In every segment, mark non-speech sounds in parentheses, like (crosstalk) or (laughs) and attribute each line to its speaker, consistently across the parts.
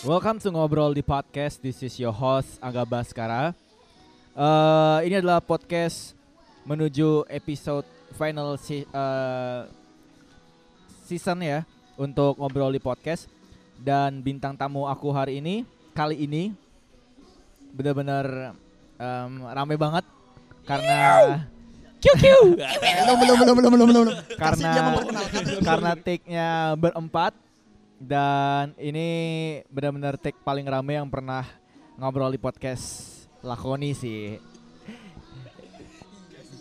Speaker 1: Welcome to Ngobrol di Podcast. This is your host Angga Baskara. Eh, ini adalah podcast menuju episode final si- eh, season ya untuk Ngobrol di Podcast dan bintang tamu aku hari ini kali ini benar-benar em, rame banget karena
Speaker 2: belum belum belum belum belum belum
Speaker 1: karena
Speaker 2: Kasih dia memperkenalkan.
Speaker 1: karena take-nya berempat dan ini benar-benar take paling rame yang pernah ngobrol di podcast Lakoni sih.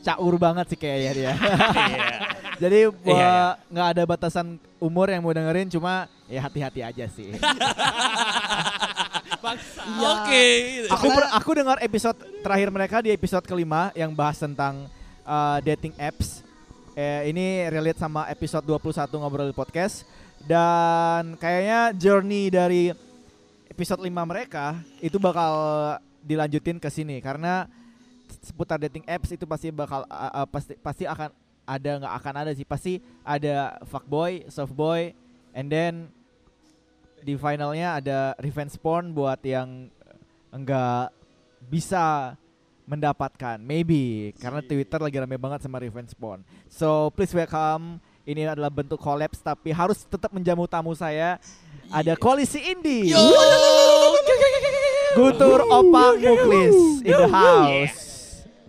Speaker 1: Caur banget sih kayaknya dia. (laughs) Jadi buat
Speaker 3: Iya, iya.
Speaker 1: nggak ada batasan umur yang mau dengerin cuma ya hati-hati aja sih.
Speaker 2: Iya.
Speaker 3: Oke.
Speaker 1: aku per- aku dengar episode terakhir mereka di episode kelima yang bahas tentang uh, dating apps. Eh, ini relate sama episode 21 ngobrol di podcast dan kayaknya journey dari episode 5 mereka itu bakal dilanjutin ke sini karena seputar dating apps itu pasti bakal uh, uh, pasti pasti akan ada nggak akan ada sih pasti ada fuckboy, softboy and then di finalnya ada revenge porn buat yang enggak bisa mendapatkan maybe karena Twitter lagi rame banget sama revenge porn. So please welcome ini adalah bentuk collabs tapi harus tetap menjamu tamu saya. Ada koalisi indie.
Speaker 3: Yo.
Speaker 1: Gutur Opang Muklis in the house.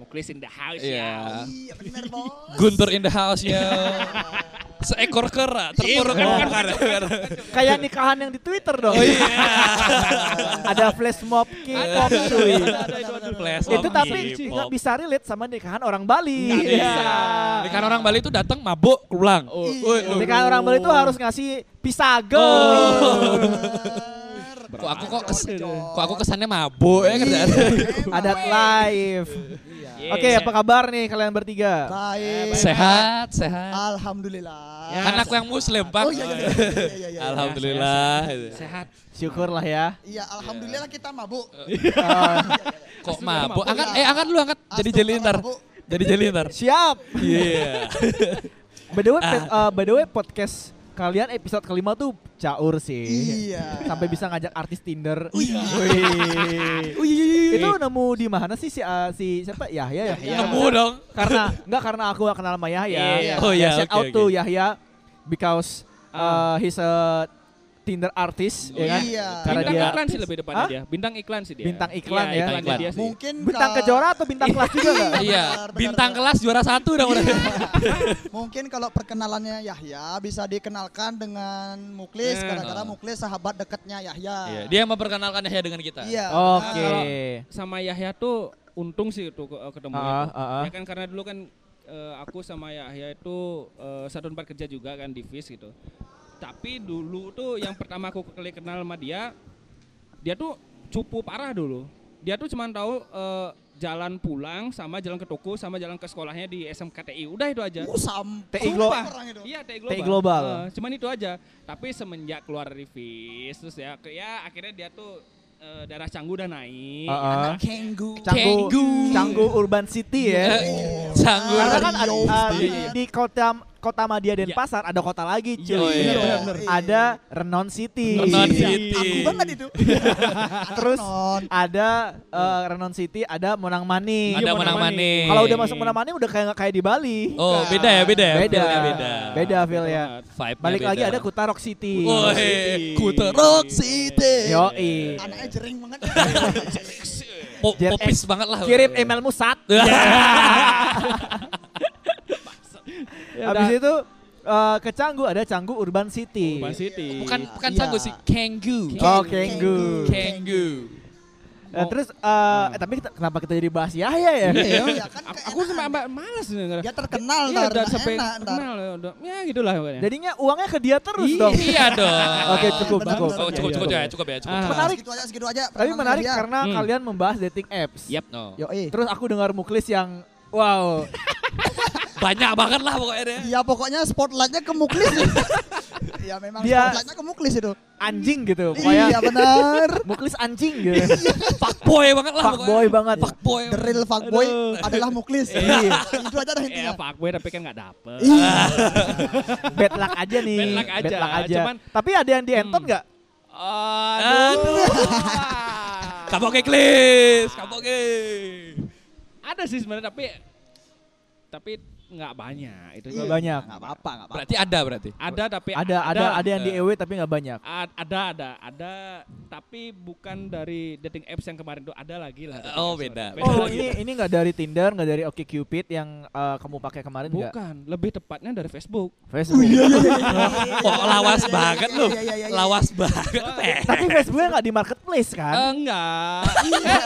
Speaker 3: Muklis in the house
Speaker 4: Iya.
Speaker 2: Iya benar bos.
Speaker 4: Guntur in the house ya. Seekor kera terpuruk
Speaker 3: bukan,
Speaker 4: mau
Speaker 3: bukan,
Speaker 4: akar.
Speaker 1: Kayak nikahan yang di Twitter dong.
Speaker 4: Oh iya.
Speaker 1: (laughs) Ada flash mob K-pop
Speaker 4: Ada,
Speaker 1: cuy.
Speaker 4: ada, ada, itu ada. Flash
Speaker 1: Itu
Speaker 4: mob,
Speaker 1: tapi
Speaker 4: K-pop.
Speaker 1: nggak bisa relate sama nikahan orang Bali.
Speaker 4: Nggak
Speaker 1: Iya.
Speaker 4: bisa. Nikahan kan orang Bali itu datang mabuk pulang.
Speaker 1: Nikahan kan orang Bali itu harus ngasih pisago.
Speaker 4: Oh.
Speaker 2: Bener.
Speaker 4: Kok aku kok kes, kok aku kesannya mabuk ya kerjaan.
Speaker 2: Eh,
Speaker 1: Adat live.
Speaker 3: Iya.
Speaker 1: Oke, apa kabar nih kalian bertiga?
Speaker 2: Baik.
Speaker 4: (laughs) sehat, sehat.
Speaker 2: Alhamdulillah.
Speaker 4: Kan aku yang muslim, Pak.
Speaker 2: Ah, iya. Oh iya
Speaker 4: (laughs)
Speaker 2: iya iya, iya iya, iya.
Speaker 4: Alhamdulillah.
Speaker 3: Sehat.
Speaker 1: Syukurlah ya.
Speaker 2: Iya alhamdulillah kita mabuk.
Speaker 1: Eh,
Speaker 4: Kok mabuk? Angkat eh angkat lu angkat jadi
Speaker 2: Astagfirullah,
Speaker 4: jeli ntar.
Speaker 2: mabuk.
Speaker 4: Jadi jeli ntar.
Speaker 1: siap.
Speaker 4: Iya.
Speaker 1: By the way, pe- eh, by the way, podcast kalian episode kelima tuh caur sih.
Speaker 2: Iya.
Speaker 1: Sampai bisa ngajak artis Tinder.
Speaker 2: Iya.
Speaker 1: Wih.
Speaker 2: Oh, iya, iya, iya.
Speaker 1: Itu nemu di mana sih si, eh, si siapa? Yahya ya.
Speaker 4: Nemu dong.
Speaker 1: karena enggak karena aku gak kenal sama Yahya.
Speaker 3: Iya.
Speaker 4: Oh, iya,
Speaker 1: Shout
Speaker 4: oke,
Speaker 1: out to
Speaker 4: oke. Ah.
Speaker 1: Yahya because uh, he's a Tinder artist ya kan?
Speaker 2: Iya.
Speaker 1: Karena
Speaker 3: Bintang
Speaker 1: dia
Speaker 3: iklan sih lebih depannya
Speaker 1: Hah?
Speaker 3: dia. Bintang iklan sih dia.
Speaker 1: Bintang iklan ya.
Speaker 3: Iya, iklannya
Speaker 4: Bintang
Speaker 3: dia
Speaker 4: iklan.
Speaker 3: sih.
Speaker 2: Mungkin
Speaker 1: bintang
Speaker 2: ke-
Speaker 1: kejora
Speaker 2: (laughs)
Speaker 1: atau bintang kelas juga enggak?
Speaker 4: Iya,
Speaker 2: benar,
Speaker 4: bintang
Speaker 2: benar.
Speaker 4: kelas juara satu
Speaker 1: Iya.
Speaker 4: dong.
Speaker 2: Mungkin kalau perkenalannya Yahya bisa dikenalkan dengan Muklis
Speaker 3: Hmm.
Speaker 2: karena Muklis sahabat dekatnya Yahya.
Speaker 4: Eh. Oh. Iya, dia memperkenalkan Yahya dengan kita.
Speaker 2: Iya.
Speaker 1: Oke.
Speaker 2: benar.
Speaker 3: Sama Yahya tuh untung sih tuh ke-
Speaker 4: Iya.
Speaker 3: ketemu.
Speaker 1: Ah, ah, ah.
Speaker 3: Ya kan karena dulu kan eh, aku sama Yahya itu eh, satu tempat kerja juga kan di FIS gitu. Tapi dulu tuh yang pertama aku kali kenal sama dia, dia tuh cupu parah dulu. Dia tuh cuma tahu eh, jalan pulang sama jalan ke toko sama jalan ke sekolahnya di SMKTI. Udah itu aja.
Speaker 2: Uh, sam-
Speaker 1: TI
Speaker 2: sumpah
Speaker 1: Global.
Speaker 2: orang itu.
Speaker 3: Iya TI Global.
Speaker 1: TI Global.
Speaker 3: Eh, cuman itu aja. Tapi semenjak keluar dari FIS terus ya, ke- ya akhirnya dia tuh eh, darah canggu udah
Speaker 4: iya.
Speaker 3: naik.
Speaker 1: Ah, ah.
Speaker 2: Kenggu.
Speaker 1: Canggu,
Speaker 4: Canggu.
Speaker 1: Canggu Urban City ya.
Speaker 4: Iya. Canggu.
Speaker 1: Karena kan ada,
Speaker 4: Iya.
Speaker 2: Yo,
Speaker 1: uh, di,
Speaker 2: banget.
Speaker 1: di kota kota Madia dan Pasar ada kota lagi cuy.
Speaker 4: Iya, iya,
Speaker 2: benar, benar.
Speaker 1: Ada Renon City.
Speaker 4: Renon
Speaker 2: Iya,
Speaker 4: City.
Speaker 2: Aku banget itu.
Speaker 1: Terus
Speaker 2: Renon.
Speaker 1: ada uh, Renon City, ada Monang Maning.
Speaker 4: Ada menang maning.
Speaker 1: Kalau udah masuk Monang Maning udah kayak nggak kayak di Bali.
Speaker 4: Oh, beda ya, beda ya.
Speaker 1: Beda.
Speaker 4: Feel-nya
Speaker 1: Beda feel ya.
Speaker 3: Iya, banget.
Speaker 4: Vibe-nya
Speaker 1: Balik
Speaker 4: iya, beda.
Speaker 1: lagi ada Kutarok City.
Speaker 4: Woi,
Speaker 2: Rock
Speaker 4: kuterok
Speaker 1: Iya.
Speaker 2: City.
Speaker 1: Yoi.
Speaker 2: Anaknya jering banget.
Speaker 4: Po-
Speaker 1: Jet
Speaker 4: popis
Speaker 1: X.
Speaker 4: banget lah. Iya.
Speaker 1: Kirim Iya. emailmu saat.
Speaker 2: Iya,
Speaker 3: Iya,
Speaker 1: Habis itu eh, ke Canggu ada Canggu Urban City.
Speaker 3: Oh, Urban City.
Speaker 4: Bukan bukan
Speaker 2: Iya.
Speaker 4: canggu sih, kenggu.
Speaker 1: Oh, Kenggu.
Speaker 4: Kenggu.
Speaker 1: Eh, terus eh, eh, tapi kita- kenapa kita jadi bahas Yahya ya?
Speaker 2: Iya, ya kan.
Speaker 3: Aku,
Speaker 2: kayak
Speaker 3: aku sama Mbak malas denger.
Speaker 2: Ya terkenal
Speaker 3: Iya,
Speaker 2: ntar.
Speaker 3: udah
Speaker 2: nggak
Speaker 3: sampai
Speaker 2: enak ntar.
Speaker 3: kenal ya, udah. Ya gitulah pokoknya.
Speaker 1: Jadinya uangnya ke dia terus dong.
Speaker 4: Iya dong.
Speaker 1: Oke, cukup,
Speaker 2: Benar,
Speaker 1: cukup.
Speaker 2: benar,
Speaker 4: Oh, cukup cukup
Speaker 1: Iya,
Speaker 4: ya, cukup ya, cukup.
Speaker 3: Ah.
Speaker 4: cukup.
Speaker 1: Menarik.
Speaker 2: Segitu gitu aja, segitu aja.
Speaker 1: Tapi
Speaker 2: Perkenalan
Speaker 1: menarik
Speaker 2: dia.
Speaker 1: karena
Speaker 3: Hmm.
Speaker 1: kalian membahas dating apps.
Speaker 3: Yap.
Speaker 4: No.
Speaker 1: Yoi. Terus aku dengar Muklis yang wow.
Speaker 4: Banyak banget lah pokoknya deh.
Speaker 2: Ya pokoknya spotlightnya ke Muklis. ya memang
Speaker 1: Dia-
Speaker 2: spotlightnya ke Muklis itu.
Speaker 1: anjing gitu.
Speaker 2: Iya
Speaker 1: Pokoknya
Speaker 2: benar. Iya.
Speaker 1: Muklis anjing gitu.
Speaker 4: Fuckboy banget lah pokoknya.
Speaker 1: Fuckboy banget.
Speaker 4: Fuckboy.
Speaker 2: The real fuckboy adalah Muklis. Iya. Itu aja dah
Speaker 3: Eh,
Speaker 2: intinya.
Speaker 3: Pak gue tapi kan nggak dapet.
Speaker 2: Iya.
Speaker 1: Bad luck aja nih.
Speaker 3: Bad luck aja.
Speaker 1: Bad luck aja.
Speaker 3: Cuman-
Speaker 1: Tapi ada yang di enton nggak?
Speaker 3: (laughs) Aduh.
Speaker 4: Kaboge Klis, kaboge.
Speaker 3: Ada sih sebenarnya tapi tapi nggak banyak itu.
Speaker 1: Nggak banyak.
Speaker 2: Nggak apa-apa, nggak apa-apa.
Speaker 4: Berarti ada berarti.
Speaker 3: Ada tapi
Speaker 1: Ada ada ada yang di EW tapi nggak banyak.
Speaker 3: A- ada ada ada tapi bukan dari dating apps yang kemarin tuh ada lagi lah dating
Speaker 4: Oh,
Speaker 3: apps,
Speaker 4: beda.
Speaker 3: sorry. (laughs)
Speaker 1: Oh
Speaker 3: lagi.
Speaker 1: ini ini nggak dari Tinder nggak dari OkCupid yang eh, kamu pakai kemarin nggak?
Speaker 3: bukan lebih tepatnya dari Facebook
Speaker 2: Oh,
Speaker 1: Facebook.
Speaker 4: Wah, lawas banget lu.
Speaker 2: Iya, iya, iya, iya.
Speaker 4: Lawas banget, Teh.
Speaker 1: Tapi Facebooknya nggak di marketplace kan?
Speaker 3: Eh, (laughs) enggak Iya.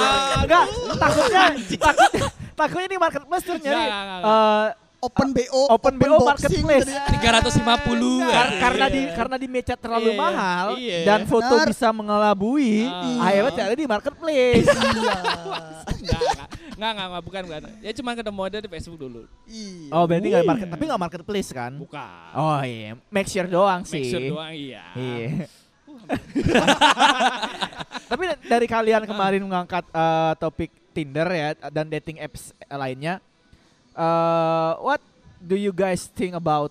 Speaker 1: Ah, enggak,
Speaker 3: (laughs)
Speaker 1: takutnya takut, takutnya di marketplace tuh nyari
Speaker 3: Enggak, enggak,
Speaker 1: eh,
Speaker 2: Open BO,
Speaker 1: open BO
Speaker 2: boxing, gitu ya.
Speaker 1: marketplace.
Speaker 2: jadi-
Speaker 4: 350.
Speaker 1: kar-
Speaker 4: Iya.
Speaker 1: karena di karena di meja terlalu
Speaker 3: Iya,
Speaker 1: mahal
Speaker 3: iya.
Speaker 1: dan foto
Speaker 2: Benar.
Speaker 1: bisa mengelabui,
Speaker 3: Ah.
Speaker 1: akhirnya cari di
Speaker 2: (laughs)
Speaker 1: marketplace.
Speaker 2: Iya.
Speaker 3: enggak enggak enggak enggak, enggak, bukan bukan ya cuma ketemu ada di Facebook dulu
Speaker 2: Iya.
Speaker 1: oh, berarti enggak market, tapi enggak marketplace kan?
Speaker 3: bukan
Speaker 1: Oh iya, make sure doang sih.
Speaker 3: make sure doang iya
Speaker 1: Iya. Tapi da- dari kalian kemarin mengangkat eh, topik Tinder ya dan dating apps lainnya, eh, what do you guys think about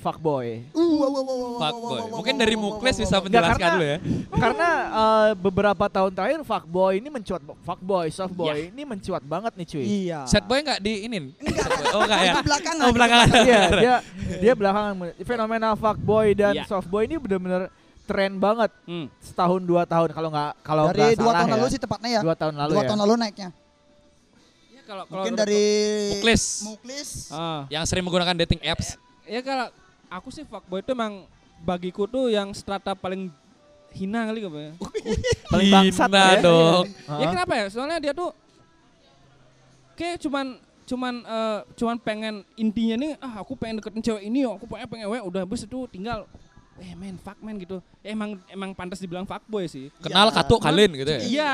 Speaker 1: fuckboy?
Speaker 2: Uh, wow, wow, wow, wow, wow, wow, wow,
Speaker 4: Fuckboy.
Speaker 2: wow,
Speaker 4: Mungkin
Speaker 2: wow,
Speaker 4: dari
Speaker 2: wow, wow,
Speaker 4: Mukles
Speaker 2: wow,
Speaker 4: bisa
Speaker 2: wow.
Speaker 4: menjelaskan
Speaker 1: karena-
Speaker 4: dulu ya.
Speaker 1: Karena eh, beberapa tahun terakhir fuckboy ini mencuat, fuckboy, softboy ini mencuat banget nih cuy.
Speaker 2: Iya.
Speaker 4: Set boy enggak diinin? Sad boy. Oh, enggak ya.
Speaker 2: Itu belakangan.
Speaker 4: Oh, belakangan.
Speaker 1: Iya, dia dia belakangan men- fenomena fuckboy dan
Speaker 3: Iya.
Speaker 1: softboy ini benar-benar tren banget
Speaker 3: Hmm.
Speaker 1: setahun dua tahun kalau nggak kalau
Speaker 2: Dari
Speaker 1: nggak
Speaker 2: dua
Speaker 1: salah
Speaker 2: tahun
Speaker 1: ya.
Speaker 2: lalu sih tepatnya ya.
Speaker 1: dua tahun lalu
Speaker 2: Dua
Speaker 1: ya.
Speaker 2: tahun lalu naiknya.
Speaker 3: ya kalau kalau
Speaker 2: Mungkin
Speaker 3: menurut
Speaker 2: dari
Speaker 4: Muklis.
Speaker 2: Muklis.
Speaker 3: aku- Ah.
Speaker 4: Yang sering menggunakan dating apps.
Speaker 3: ya kalau aku sih fuckboy itu emang bagiku tuh yang strata paling hina kali ya. kayaknya.
Speaker 1: Paling bangsat
Speaker 4: Hina
Speaker 1: lah ya.
Speaker 4: dong.
Speaker 1: Hah?
Speaker 3: Ya kenapa ya? Soalnya dia tuh kayak cuman cuman eh, cuman pengen intinya nih ah aku pengen deketin cewek ini oh, aku pengen pengen we, udah habis itu tinggal eh men fuck men gitu. Ya, emang emang pantas dibilang fuckboy sih.
Speaker 4: Kenal
Speaker 2: Iya.
Speaker 4: katuk kalin gitu ya.
Speaker 3: Iya,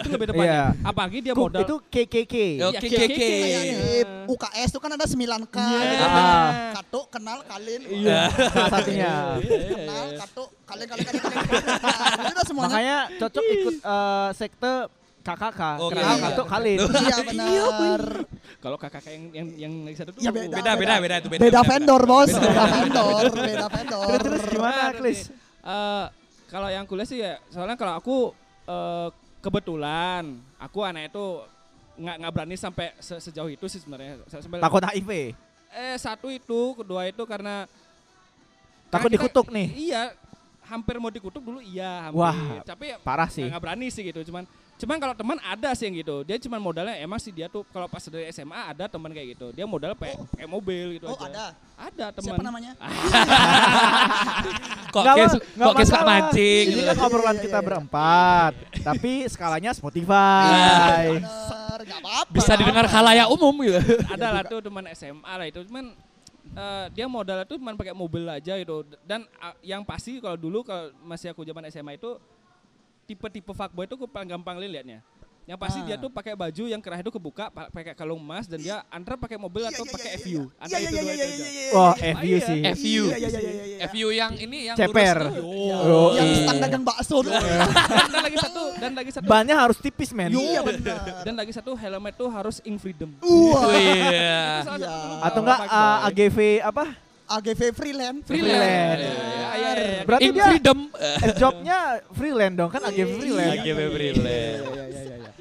Speaker 3: itu lebih depannya. Apalagi
Speaker 2: Iya,
Speaker 3: dia
Speaker 1: Ku-
Speaker 3: modal
Speaker 1: itu KKK.
Speaker 4: Yo.
Speaker 3: Ya,
Speaker 4: Oke,
Speaker 3: kayak-
Speaker 4: oke.
Speaker 3: kayak-
Speaker 2: Kayak
Speaker 3: kayak-
Speaker 2: Nah, di UKS tuh kan ada 9K. gitu
Speaker 1: Ah.
Speaker 2: kan.
Speaker 1: Iya.
Speaker 2: Katuk kenal kalin.
Speaker 1: Salah satunya.
Speaker 2: Kenal katuk kalin kalin kalin kalin. Nah, Itu udah semuanya.
Speaker 1: Makanya cocok ikut eh, sekte KKK.
Speaker 4: Oh,
Speaker 1: Kenal
Speaker 2: iya.
Speaker 1: Katuk Khalid.
Speaker 2: Iya benar.
Speaker 3: Kalau kakak yang yang yang lagi satu tuh
Speaker 2: Ya,
Speaker 4: Beda beda beda itu beda.
Speaker 2: Beda vendor bos, beda vendor, beda vendor.
Speaker 1: Terus, terus gimana,
Speaker 3: Baru
Speaker 1: Klis?
Speaker 3: nih. Eh, kalau yang kuliah sih ya, soalnya kalau aku eh, kebetulan aku anak itu nggak nggak berani sampai se- sejauh itu sih sebenarnya. Sa- sampai-
Speaker 1: Takut HIV.
Speaker 3: Eh satu itu, kedua itu karena
Speaker 1: Takut
Speaker 3: karena kita-
Speaker 1: dikutuk nih.
Speaker 3: Iya, hampir mau dikutuk dulu iya. Hampir.
Speaker 1: Wah,
Speaker 3: tapi ya
Speaker 1: Parah
Speaker 3: nggak
Speaker 1: sih.
Speaker 3: nggak berani sih gitu. Cuman cuman kalau teman ada sih yang gitu. Dia cuman modalnya emang sih dia tuh kalau pas dari SMA ada teman kayak gitu. Dia modal pe- kayak mobil gitu
Speaker 2: Oh
Speaker 3: aja.
Speaker 2: ada.
Speaker 3: Ada teman.
Speaker 2: Siapa namanya?
Speaker 4: (laughs) Kok
Speaker 1: Nggak
Speaker 4: kes
Speaker 1: ma- nggak
Speaker 4: kok kes nggak
Speaker 1: masalah.
Speaker 4: mancing.
Speaker 1: Ini
Speaker 4: gitu.
Speaker 1: kan obrolan kita berempat. Tapi skalanya Spotify.
Speaker 2: Iya. Bener, nggak apa-apa. Iya,
Speaker 4: Bisa didengar halayak umum gitu.
Speaker 3: ada lah tuh teman SMA lah itu cuman eh, dia modal tuh cuman pakai mobil aja gitu dan ah, yang pasti kalau dulu kalau masih aku zaman SMA itu tipe-tipe fuckboy itu aku paling gampang liatnya yang pasti
Speaker 2: Ah.
Speaker 3: dia tuh pakai baju yang kerah itu kebuka pa- pakai kalung emas dan dia antara pakai mobil
Speaker 2: Iya,
Speaker 3: atau
Speaker 2: iya,
Speaker 3: pakai
Speaker 2: iya,
Speaker 3: FU
Speaker 2: iya.
Speaker 3: antara
Speaker 2: Iya,
Speaker 3: itu
Speaker 2: iya,
Speaker 3: dua
Speaker 2: iya,
Speaker 3: itu
Speaker 2: iya,
Speaker 3: aja.
Speaker 2: iya, iya,
Speaker 1: Wah,
Speaker 2: iya.
Speaker 1: FU sih.
Speaker 4: F- FU.
Speaker 2: Iya, iya, iya, iya, iya.
Speaker 4: FU yang ini yang
Speaker 1: Ceper.
Speaker 4: lurus tuh.
Speaker 1: Oh,
Speaker 2: Yang
Speaker 1: iya.
Speaker 2: stand dagang bakso tuh.
Speaker 3: dan lagi satu dan lagi satu
Speaker 1: Bannya harus tipis, men.
Speaker 2: (laughs) Iya benar.
Speaker 3: dan lagi satu helmet tuh harus in freedom
Speaker 4: Oh,
Speaker 2: Wah,
Speaker 4: Iya.
Speaker 3: Itu salah satu
Speaker 2: Uh. Iya.
Speaker 1: Atau enggak
Speaker 3: fuckboy.
Speaker 1: eh, AGV apa?
Speaker 2: AGV freelance.
Speaker 4: Freelance.
Speaker 1: Freelance.
Speaker 3: Iya, iya, iya, iya.
Speaker 1: Berarti
Speaker 4: In
Speaker 1: dia
Speaker 4: freedom.
Speaker 1: eh, jobnya freelance dong kan AGV freelance.
Speaker 4: Lagi freelance.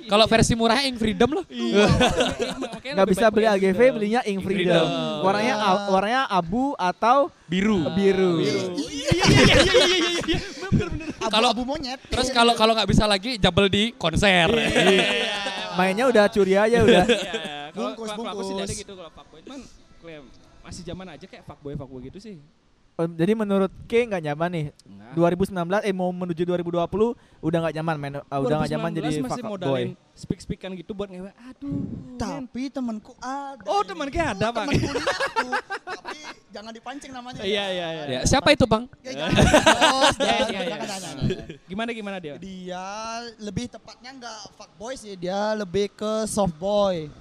Speaker 4: Kalau versi murah in freedom loh.
Speaker 3: Makanya
Speaker 1: nggak
Speaker 3: Kan lebih
Speaker 1: bisa
Speaker 3: baik gitu.
Speaker 1: beli
Speaker 3: pakai
Speaker 1: AGV
Speaker 3: freedom.
Speaker 1: belinya Ink Freedom.
Speaker 4: Freedom.
Speaker 1: Warnanya a- warnanya abu atau Ah,
Speaker 4: Biru.
Speaker 1: biru.
Speaker 2: iya,
Speaker 4: Kalau-
Speaker 2: Abu-abu monyet. Iya.
Speaker 4: Terus kalau kalau nggak bisa lagi jabel di konser.
Speaker 1: Mainnya udah curi aja udah.
Speaker 3: Iya, kalau
Speaker 2: Bungkus,
Speaker 3: kalau- kalau aku sih
Speaker 2: bungkus.
Speaker 3: lihatnya gitu kalau fuckboy cuman klaim masih zaman aja kayak fuckboy fuckboy gitu sih.
Speaker 1: Em, Oh, Jadi menurut K nggak nyaman nih.
Speaker 3: Enggak.
Speaker 1: 2019 eh mau menuju 2020 udah nggak nyaman main eh, udah nggak nyaman jadi
Speaker 3: masih
Speaker 1: fuck boy.
Speaker 3: modalin speak speakan gitu buat ngewe. Aduh. men.
Speaker 2: Tapi temanku ada.
Speaker 3: Oh, teman kayak ada, Bang.
Speaker 2: Teman kuliah aku. Tapi jangan dipancing namanya.
Speaker 3: Iya, iya, iya.
Speaker 4: Ya, siapa itu bang?
Speaker 2: Ya jangan. Bos,
Speaker 3: Iya,
Speaker 2: jangan,
Speaker 3: iya, iya.
Speaker 2: jangan, jangan, jangan.
Speaker 3: Gimana gimana dia?
Speaker 2: Dia lebih tepatnya nggak fuckboy sih, dia lebih ke soft boy.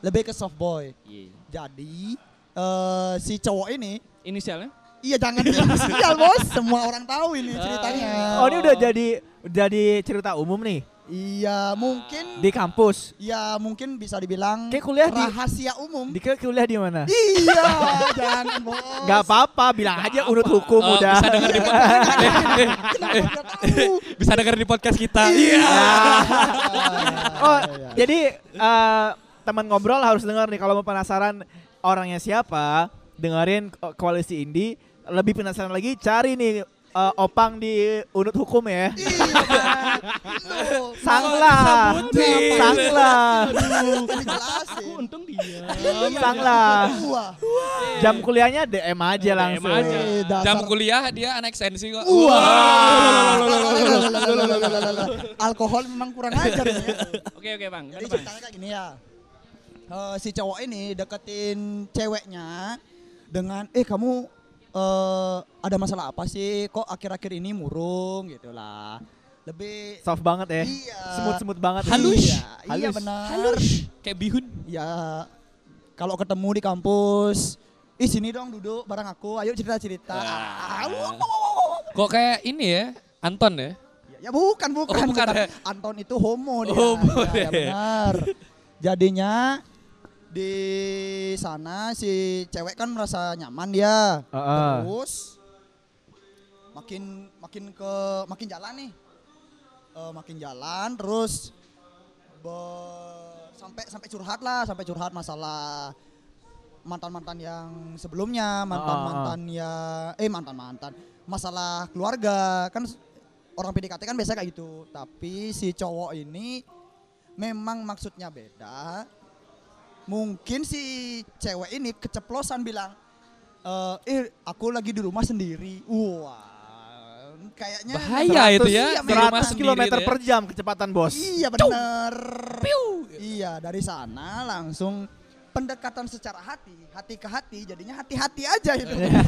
Speaker 2: Lebih ke soft boy.
Speaker 3: Iya.
Speaker 2: Jadi eh, si cowok ini
Speaker 3: Inisialnya?
Speaker 2: Iya
Speaker 1: (laughs)
Speaker 2: jangan
Speaker 1: Eh.
Speaker 2: inisial bos, semua orang tahu ini ceritanya.
Speaker 1: Oh ini udah jadi jadi cerita umum nih.
Speaker 2: Iya, mungkin
Speaker 1: Di kampus.
Speaker 2: ya mungkin bisa dibilang
Speaker 1: Kayak kuliah di-
Speaker 2: rahasia umum.
Speaker 1: Di kuliah di mana?
Speaker 2: Iya, (laughs) jangan bos.
Speaker 1: Gak apa-apa, bilang aja urut hukum
Speaker 4: Eh,
Speaker 1: udah. (laughs)
Speaker 4: Bisa denger di podcast.
Speaker 1: Eh,
Speaker 2: (laughs) Kenapa nggak tahu? Iya,
Speaker 4: bisa denger di podcast kita. Iya.
Speaker 1: Nah. Oh, jadi eh, teman ngobrol harus dengar nih kalau mau penasaran orangnya siapa, dengerin Ko- koalisi Indi. Lebih penasaran lagi cari nih eh, opang di unit hukum ya.
Speaker 2: kan? Iya. Loh,
Speaker 1: Sanglah.
Speaker 4: disebutin.
Speaker 1: Sanglah.
Speaker 2: kan dijelasin.
Speaker 3: Aku untung dia.
Speaker 1: Sanglah.
Speaker 2: Wah,
Speaker 1: Jam kuliahnya DM aja langsung.
Speaker 3: aja.
Speaker 2: eh, dasar.
Speaker 4: Jam kuliah dia anak sensi kok.
Speaker 2: Wah. (laughs) Alkohol memang kurang ajar ya.
Speaker 3: Oke oke bang.
Speaker 2: Jadi
Speaker 3: Gimana, Bang?
Speaker 2: ceritanya kayak gini ya. Eh, si cowok ini deketin ceweknya dengan eh kamu eh ada masalah apa sih? Kok akhir-akhir ini murung gitu lah. Lebih
Speaker 1: Soft banget ya.
Speaker 2: Iya.
Speaker 1: Semut-semut banget.
Speaker 4: Halus.
Speaker 2: Iya, iya
Speaker 1: Halus.
Speaker 2: benar.
Speaker 4: Kayak bihun.
Speaker 2: Ya kalau ketemu di kampus, ih sini dong duduk bareng aku, ayo cerita-cerita. Ah, wow, wow, wow, wow.
Speaker 4: Kok kayak ini ya, Anton ya?
Speaker 2: Ya bukan bukan.
Speaker 4: Oh, bukan, ya. Oh,
Speaker 2: Anton itu homo dia.
Speaker 4: Homo
Speaker 2: ya,
Speaker 4: dia. (laughs)
Speaker 2: benar. Jadinya di sana si cewek kan merasa nyaman dia.
Speaker 1: Heeh.
Speaker 2: Terus makin makin ke makin jalan nih. Eh, makin jalan terus be- sampai sampai curhat lah, sampai curhat masalah mantan-mantan yang sebelumnya, mantan-mantan ya eh mantan-mantan masalah keluarga kan s- orang PDKT kan biasa kayak gitu. Tapi si cowok ini memang maksudnya beda. Mungkin si cewek ini keceplosan bilang eh, eh aku lagi di rumah sendiri. Wah, kayaknya
Speaker 4: Bahaya itu ya,
Speaker 2: iya,
Speaker 4: di rumah
Speaker 1: 100
Speaker 4: sendiri
Speaker 1: km
Speaker 4: tuh ya.
Speaker 1: per jam kecepatan bos.
Speaker 2: Iya bener. Iya dari sana langsung pendekatan secara hati, hati ke hati, jadinya hati-hati aja gitu. itu.
Speaker 3: Iya.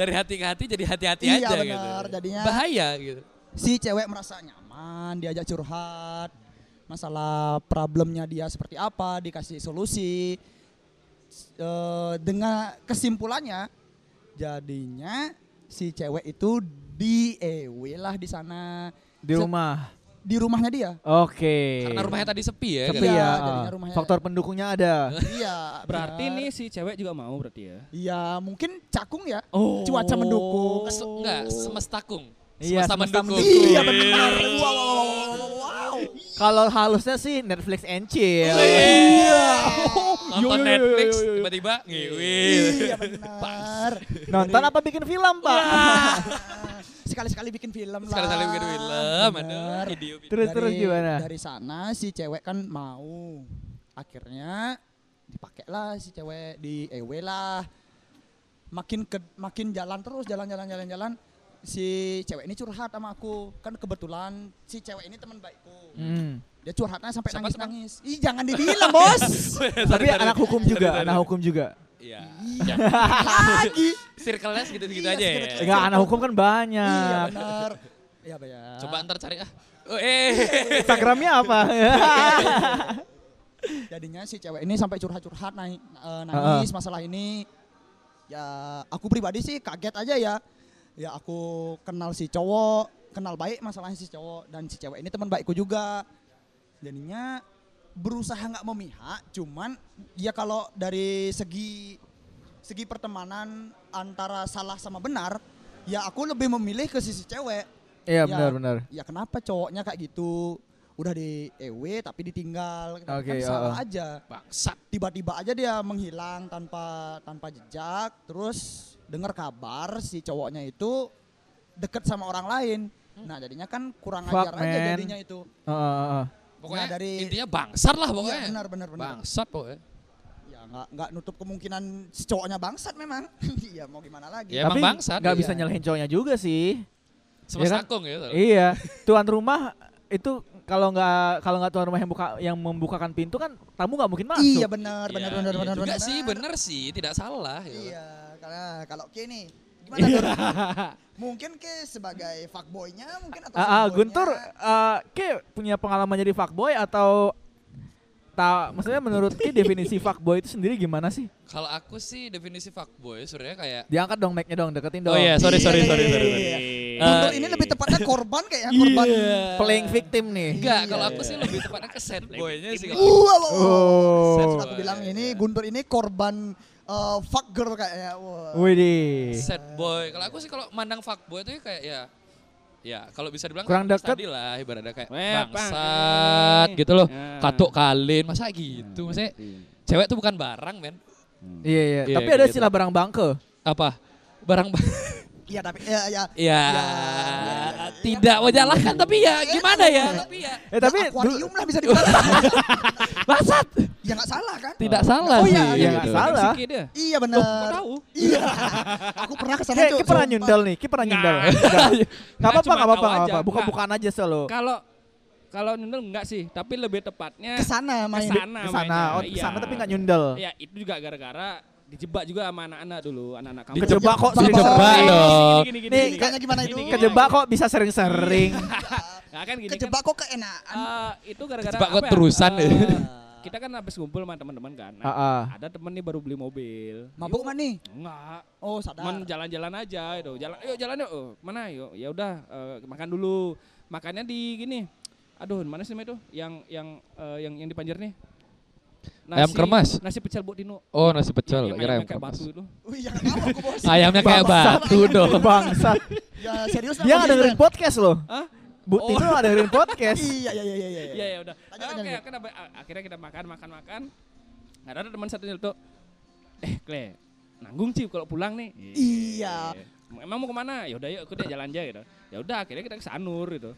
Speaker 4: Dari hati ke hati jadi hati-hati
Speaker 2: Iya,
Speaker 4: aja
Speaker 2: benar,
Speaker 4: gitu.
Speaker 2: jadinya-
Speaker 4: Bahaya gitu.
Speaker 2: si cewek merasa nyaman, diajak curhat, masalah problemnya dia seperti apa, dikasih solusi. S- eh, dengan kesimpulannya, jadinya si cewek itu di EW lah di sana,
Speaker 1: Di rumah.
Speaker 2: di rumahnya dia.
Speaker 1: Oke.
Speaker 4: Karena rumahnya tadi sepi ya.
Speaker 1: Sepi
Speaker 4: kan?
Speaker 2: Iya,
Speaker 1: ya.
Speaker 2: jadinya rumahnya-
Speaker 1: Faktor pendukungnya ada.
Speaker 2: Iya.
Speaker 3: Berarti
Speaker 2: benar.
Speaker 3: nih si cewek juga mau berarti ya.
Speaker 2: Iya, mungkin cakung ya.
Speaker 3: Oh.
Speaker 2: Cuaca mendukung.
Speaker 4: Se- enggak, semesta kung.
Speaker 1: Iya,
Speaker 4: semesta
Speaker 1: semesta
Speaker 4: mendukung.
Speaker 1: mendukung.
Speaker 2: Iya benar. Wow, wow, wow, wow, wow, wow.
Speaker 1: Kalau halusnya sih Netflix and chill.
Speaker 4: Iya.
Speaker 1: Yo, yo,
Speaker 4: Nonton
Speaker 1: yo,
Speaker 4: Netflix
Speaker 1: yo, yo.
Speaker 4: tiba-tiba ngiwil.
Speaker 2: Iya benar. Ah.
Speaker 1: Nonton apa bikin film, Pak?
Speaker 4: Iya.
Speaker 2: Sekali-sekali bikin film lah.
Speaker 4: Sekali-sekali bikin film, aduh,
Speaker 2: Benar.
Speaker 4: video. (laughs)
Speaker 1: Terus terus
Speaker 2: Dari-
Speaker 1: gimana?
Speaker 2: Dari sana si cewek kan mau. Akhirnya dipakailah si cewek di EW lah. Makin ke, makin jalan terus jalan-jalan jalan-jalan si cewek ini curhat sama aku kan kebetulan si cewek ini teman baikku
Speaker 1: Hmm.
Speaker 2: dia curhatnya sampai
Speaker 4: Siapa, siapa?
Speaker 2: nangis-nangis ih jangan dibilang bos (laughs)
Speaker 1: Tapi anak hukum juga, anak hukum juga.
Speaker 4: Iya.
Speaker 2: Iya, lagi.
Speaker 4: Circle-nya segitu-segitu
Speaker 2: Iya,
Speaker 4: aja ya.
Speaker 2: circle-nya.
Speaker 1: Enggak, anak hukum kan
Speaker 2: Iya
Speaker 1: (laughs) banyak.
Speaker 2: benar. Iya benar.
Speaker 4: Coba ntar cari ah. Oh,
Speaker 1: (laughs)
Speaker 4: eh.
Speaker 1: Instagramnya
Speaker 4: (laughs)
Speaker 1: apa?
Speaker 4: Iya.
Speaker 2: Jadinya si cewek ini sampai curhat-curhat naik nangis masalah ini. Ya aku pribadi sih kaget aja ya. Ya aku kenal si cowok, kenal baik masalahnya si cowok dan si cewek ini teman baikku juga. Jadinya berusaha nggak memihak, cuman ya kalau dari segi segi pertemanan antara salah sama benar, ya aku lebih memilih ke sisi cewek.
Speaker 1: Iya
Speaker 2: Ya,
Speaker 1: benar benar.
Speaker 2: Ya kenapa cowoknya kayak gitu? Udah di EW tapi ditinggal. Kan
Speaker 1: Oke,
Speaker 2: salah
Speaker 1: uh-uh.
Speaker 2: aja.
Speaker 4: Bangsat.
Speaker 2: Tiba-tiba aja dia menghilang tanpa tanpa jejak, terus dengar kabar si cowoknya itu deket sama orang lain.
Speaker 4: Hmm.
Speaker 2: Nah, jadinya kan kurang
Speaker 1: Fuck,
Speaker 2: ajar aja
Speaker 1: man.
Speaker 2: jadinya itu.
Speaker 1: Heeh, heeh.
Speaker 4: Pokoknya
Speaker 2: Nah, dari-
Speaker 4: intinya bangsat lah pokoknya.
Speaker 2: Iya, benar benar benar.
Speaker 4: Bangsat
Speaker 1: Iya
Speaker 4: pokoknya.
Speaker 2: Ya nggak nggak nutup kemungkinan si cowoknya bangsat memang. (laughs) Iya, mau gimana lagi?
Speaker 4: Ya emang bangsat.
Speaker 1: Gak
Speaker 4: Iya.
Speaker 1: bisa nyalahin cowoknya juga sih. kan?
Speaker 4: Semesta kung ya. soalnya.
Speaker 1: Iya, tuan rumah itu kalau nggak kalau nggak tuan rumah yang buka yang membukakan pintu kan tamu nggak mungkin masuk.
Speaker 2: Iya, benar benar
Speaker 4: Iya,
Speaker 2: benar
Speaker 4: iya
Speaker 2: benar
Speaker 4: juga
Speaker 2: benar.
Speaker 4: sih, bener sih, tidak salah. gitu.
Speaker 2: Iya, karena kalau Ki nih gimana
Speaker 1: Iya. (laughs)
Speaker 2: Dur? Mungkin Ki sebagai fuckboy-nya mungkin atau
Speaker 1: Ah, ah,
Speaker 2: softboy-nya?
Speaker 1: Guntur, eh, Ki punya pengalaman jadi fuckboy atau tak? Maksudnya menurut Ki (laughs) definisi fuckboy itu sendiri gimana sih?
Speaker 4: Kalau aku sih definisi fuckboy sebenarnya kayak Iya,
Speaker 1: Diangkat dong mic-nya dong, deketin dong.
Speaker 4: Oh iya, sorry sorry sorry sorry. sorry.
Speaker 2: Gundul
Speaker 3: Eh,
Speaker 2: ini lebih tepatnya korban kayaknya
Speaker 1: Iya.
Speaker 2: korban.
Speaker 1: Playing victim nih.
Speaker 4: Enggak, kalau aku sih lebih tepatnya ke sad boy-nya sih. kalau-
Speaker 2: Uh, halo.
Speaker 1: Oh. Iya,
Speaker 2: Saya sudah aku bilang ini Guntur ini korban eh, fuck girl kayaknya. Wah.
Speaker 1: Widih.
Speaker 4: Sad boy. Kalau aku sih kalau mandang fuckboy itu kayak ya ya kalau bisa dibilang
Speaker 1: Kurang
Speaker 4: kayak
Speaker 1: deket.
Speaker 4: tadi lah ibaratnya kayak
Speaker 3: Weh,
Speaker 4: bangsat
Speaker 3: bang.
Speaker 4: gitu loh.
Speaker 3: Ya.
Speaker 4: Katuk kalin, masa gitu? Maksudnya
Speaker 3: iya.
Speaker 4: cewek itu bukan barang, men.
Speaker 1: Iya iya.
Speaker 4: Iya,
Speaker 1: Tapi ada
Speaker 4: gitu.
Speaker 1: istilah barang bangke.
Speaker 4: Apa? Barang ba- (laughs)
Speaker 2: Iya tapi ya ya.
Speaker 4: ya, tidak menyalahkan tapi ya gimana ya? iya. Tapi ya
Speaker 1: Eh tapi
Speaker 2: Ya,
Speaker 1: dulu
Speaker 2: akuarium lah bisa dibilang.
Speaker 1: (laughs)
Speaker 4: Bangsat.
Speaker 2: ya nggak salah kan?
Speaker 4: Tidak salah
Speaker 2: Oh,
Speaker 4: sih. Gitu.
Speaker 2: iya, iya,
Speaker 1: nggak salah.
Speaker 4: Fisiki dia.
Speaker 2: Iya
Speaker 4: Loh,
Speaker 2: benar.
Speaker 4: kok tahu?
Speaker 2: Iya. aku pernah ke sana
Speaker 1: Kayak
Speaker 2: Cuk,
Speaker 1: kita Iya, pernah
Speaker 2: sumpah.
Speaker 1: nyundel nih, kita pernah nyundel. Enggak apa-apa,
Speaker 3: cuma
Speaker 1: enggak apa-apa,
Speaker 3: tahu
Speaker 1: enggak
Speaker 3: aja.
Speaker 1: apa-apa. Buka-bukaan aja selalu.
Speaker 3: Kalau kalau nyundel enggak sih, tapi lebih tepatnya
Speaker 2: Ke sana main.
Speaker 3: Kesana.
Speaker 1: Ke sana,
Speaker 3: mainnya,
Speaker 1: oh ke
Speaker 3: iya.
Speaker 1: sana tapi enggak nyundel.
Speaker 3: ya itu juga gara-gara dijebak juga sama anak-anak dulu, anak-anak kamu.
Speaker 1: Kejebak kok
Speaker 2: Kejebak
Speaker 4: Coba
Speaker 1: sering-sering.
Speaker 2: dong.
Speaker 4: dong.
Speaker 1: Nih,
Speaker 4: kan
Speaker 2: Kayaknya gimana itu?
Speaker 1: Kejebak kok bisa sering-sering.
Speaker 3: Nah, kan gini kan,
Speaker 2: Kejebak kok keenaan.
Speaker 3: eh, itu gara-gara
Speaker 4: Kejebak
Speaker 3: apa
Speaker 4: kok
Speaker 3: ya,
Speaker 4: terusan. (laughs)
Speaker 3: eh, kita kan habis ngumpul sama teman-teman kan. Nah,
Speaker 4: Ah,
Speaker 1: Heeh.
Speaker 3: ada temen nih baru beli mobil.
Speaker 2: Mabuk
Speaker 3: Yuk,
Speaker 2: mana nih?
Speaker 3: Enggak.
Speaker 2: Oh sadar.
Speaker 3: Cuman jalan-jalan aja itu. Jalan yuk jalan yuk. Oh, mana yuk? Ya udah eh, makan dulu. Makannya di gini. Aduh, mana sih namanya itu? Yang yang eh, yang yang di Panjer nih.
Speaker 4: Ayam kremas?
Speaker 3: Nasi pecel Bu Dino.
Speaker 4: Oh, nasi
Speaker 3: Yang-
Speaker 4: pecel.
Speaker 3: yang
Speaker 4: Kira
Speaker 3: ayamnya
Speaker 4: ayam
Speaker 3: kayak
Speaker 4: kremas.
Speaker 3: batu itu.
Speaker 2: Wih, ya kenapa aku
Speaker 3: (laughs)
Speaker 2: bos?
Speaker 4: Ayamnya kayak batu dong.
Speaker 1: Bangsa.
Speaker 2: Ya serius lah,
Speaker 1: Dia
Speaker 2: bos,
Speaker 1: nggak dengerin
Speaker 2: serius,
Speaker 1: podcast loh.
Speaker 3: Hah?
Speaker 1: Bu
Speaker 3: Oh.
Speaker 1: Tino nggak dengerin
Speaker 2: Bang.
Speaker 3: (laughs)
Speaker 1: podcast.
Speaker 2: Iya, iya, iya, iya, iya.
Speaker 3: Iya ya udah.
Speaker 2: Lanjut,
Speaker 3: Ah,
Speaker 2: lanjut,
Speaker 3: Oke,
Speaker 2: lanjut.
Speaker 3: oke, nah, a- akhirnya kita makan makan makan. Nah, ada teman satu itu. Eh, Kle, nanggung sih kalau pulang nih.
Speaker 2: Iya.
Speaker 3: Em- Emang mau kemana? Ya udah yuk, aku deh jalan aja gitu. Ya udah akhirnya kita ke Sanur gitu.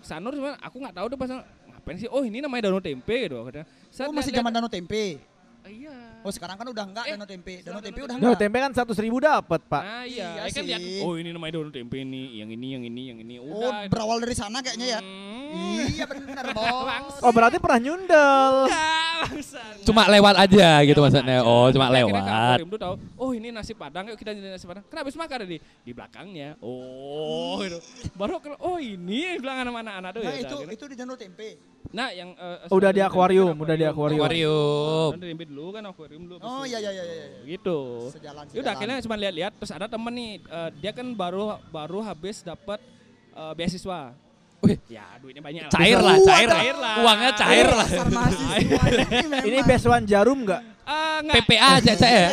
Speaker 3: Ke Sanur cuman aku nggak tahu deh pas ngapain sih. Oh, ini namanya Danau Tempe gitu. Katanya.
Speaker 2: Oh,
Speaker 3: Saya
Speaker 2: masih
Speaker 3: lihat-lihat,
Speaker 2: zaman Danau Tempe.
Speaker 3: Iya.
Speaker 2: Oh, sekarang kan udah enggak
Speaker 3: Eh,
Speaker 2: Danau Tempe. Danau
Speaker 3: Danau
Speaker 2: Tempe
Speaker 3: Tempe.
Speaker 2: udah
Speaker 1: Duh,
Speaker 2: enggak.
Speaker 1: tempe kan 100 ribu dapat, Pak.
Speaker 3: Nah, iya.
Speaker 2: Iya
Speaker 3: Saya kan lihat,
Speaker 2: sih.
Speaker 3: oh ini namanya Danau Tempe ini, yang ini, yang ini, yang ini.
Speaker 2: Oh,
Speaker 3: Udah. gitu.
Speaker 2: berawal dari sana kayaknya ya.
Speaker 3: Hmm.
Speaker 2: Iya
Speaker 3: (laughs)
Speaker 2: benar, Bos.
Speaker 1: Oh, berarti pernah nyundel.
Speaker 3: Enggak, bangsat.
Speaker 4: Cuma lewat aja gitu
Speaker 3: Iya.
Speaker 4: maksudnya. Oh, cuma
Speaker 3: Akhirnya Kak
Speaker 4: lewat.
Speaker 3: Korim tuh tahu, oh ini nasi padang, yuk kita jadi nasi padang. Kenapa habis makan tadi? Di belakangnya. Oh, gitu. Baru kalau oh ini yang bilang sama anak-anak tuh. ya
Speaker 2: Nah,
Speaker 3: udah,
Speaker 2: itu
Speaker 3: gitu.
Speaker 2: itu di Danau Tempe.
Speaker 3: nah yang eh,
Speaker 1: Udah
Speaker 3: sebenarnya
Speaker 1: di
Speaker 3: dari-
Speaker 1: akuarium,
Speaker 3: dari
Speaker 1: udah di akuarium.
Speaker 4: Akuarium.
Speaker 3: Dari tempe dulu kan akuarium dulu.
Speaker 2: Oh, iya, iya, iya, iya. iya.
Speaker 3: Gitu.
Speaker 2: Sejalan,
Speaker 3: Ya udah
Speaker 2: sejalan.
Speaker 3: akhirnya cuma lihat-lihat terus ada temen nih eh, dia kan baru baru habis dapat eh, beasiswa.
Speaker 4: Wih.
Speaker 3: Ya duitnya banyak lah.
Speaker 4: Cair lah,
Speaker 2: Waduh,
Speaker 4: cair lah.
Speaker 3: cair lah.
Speaker 4: Uangnya cair lah.
Speaker 2: Dasar
Speaker 3: (laughs)
Speaker 2: mahasiswa memang.
Speaker 1: Ini besuan jarum nggak?
Speaker 3: Ah, enggak.
Speaker 4: PPA aja ya? saya.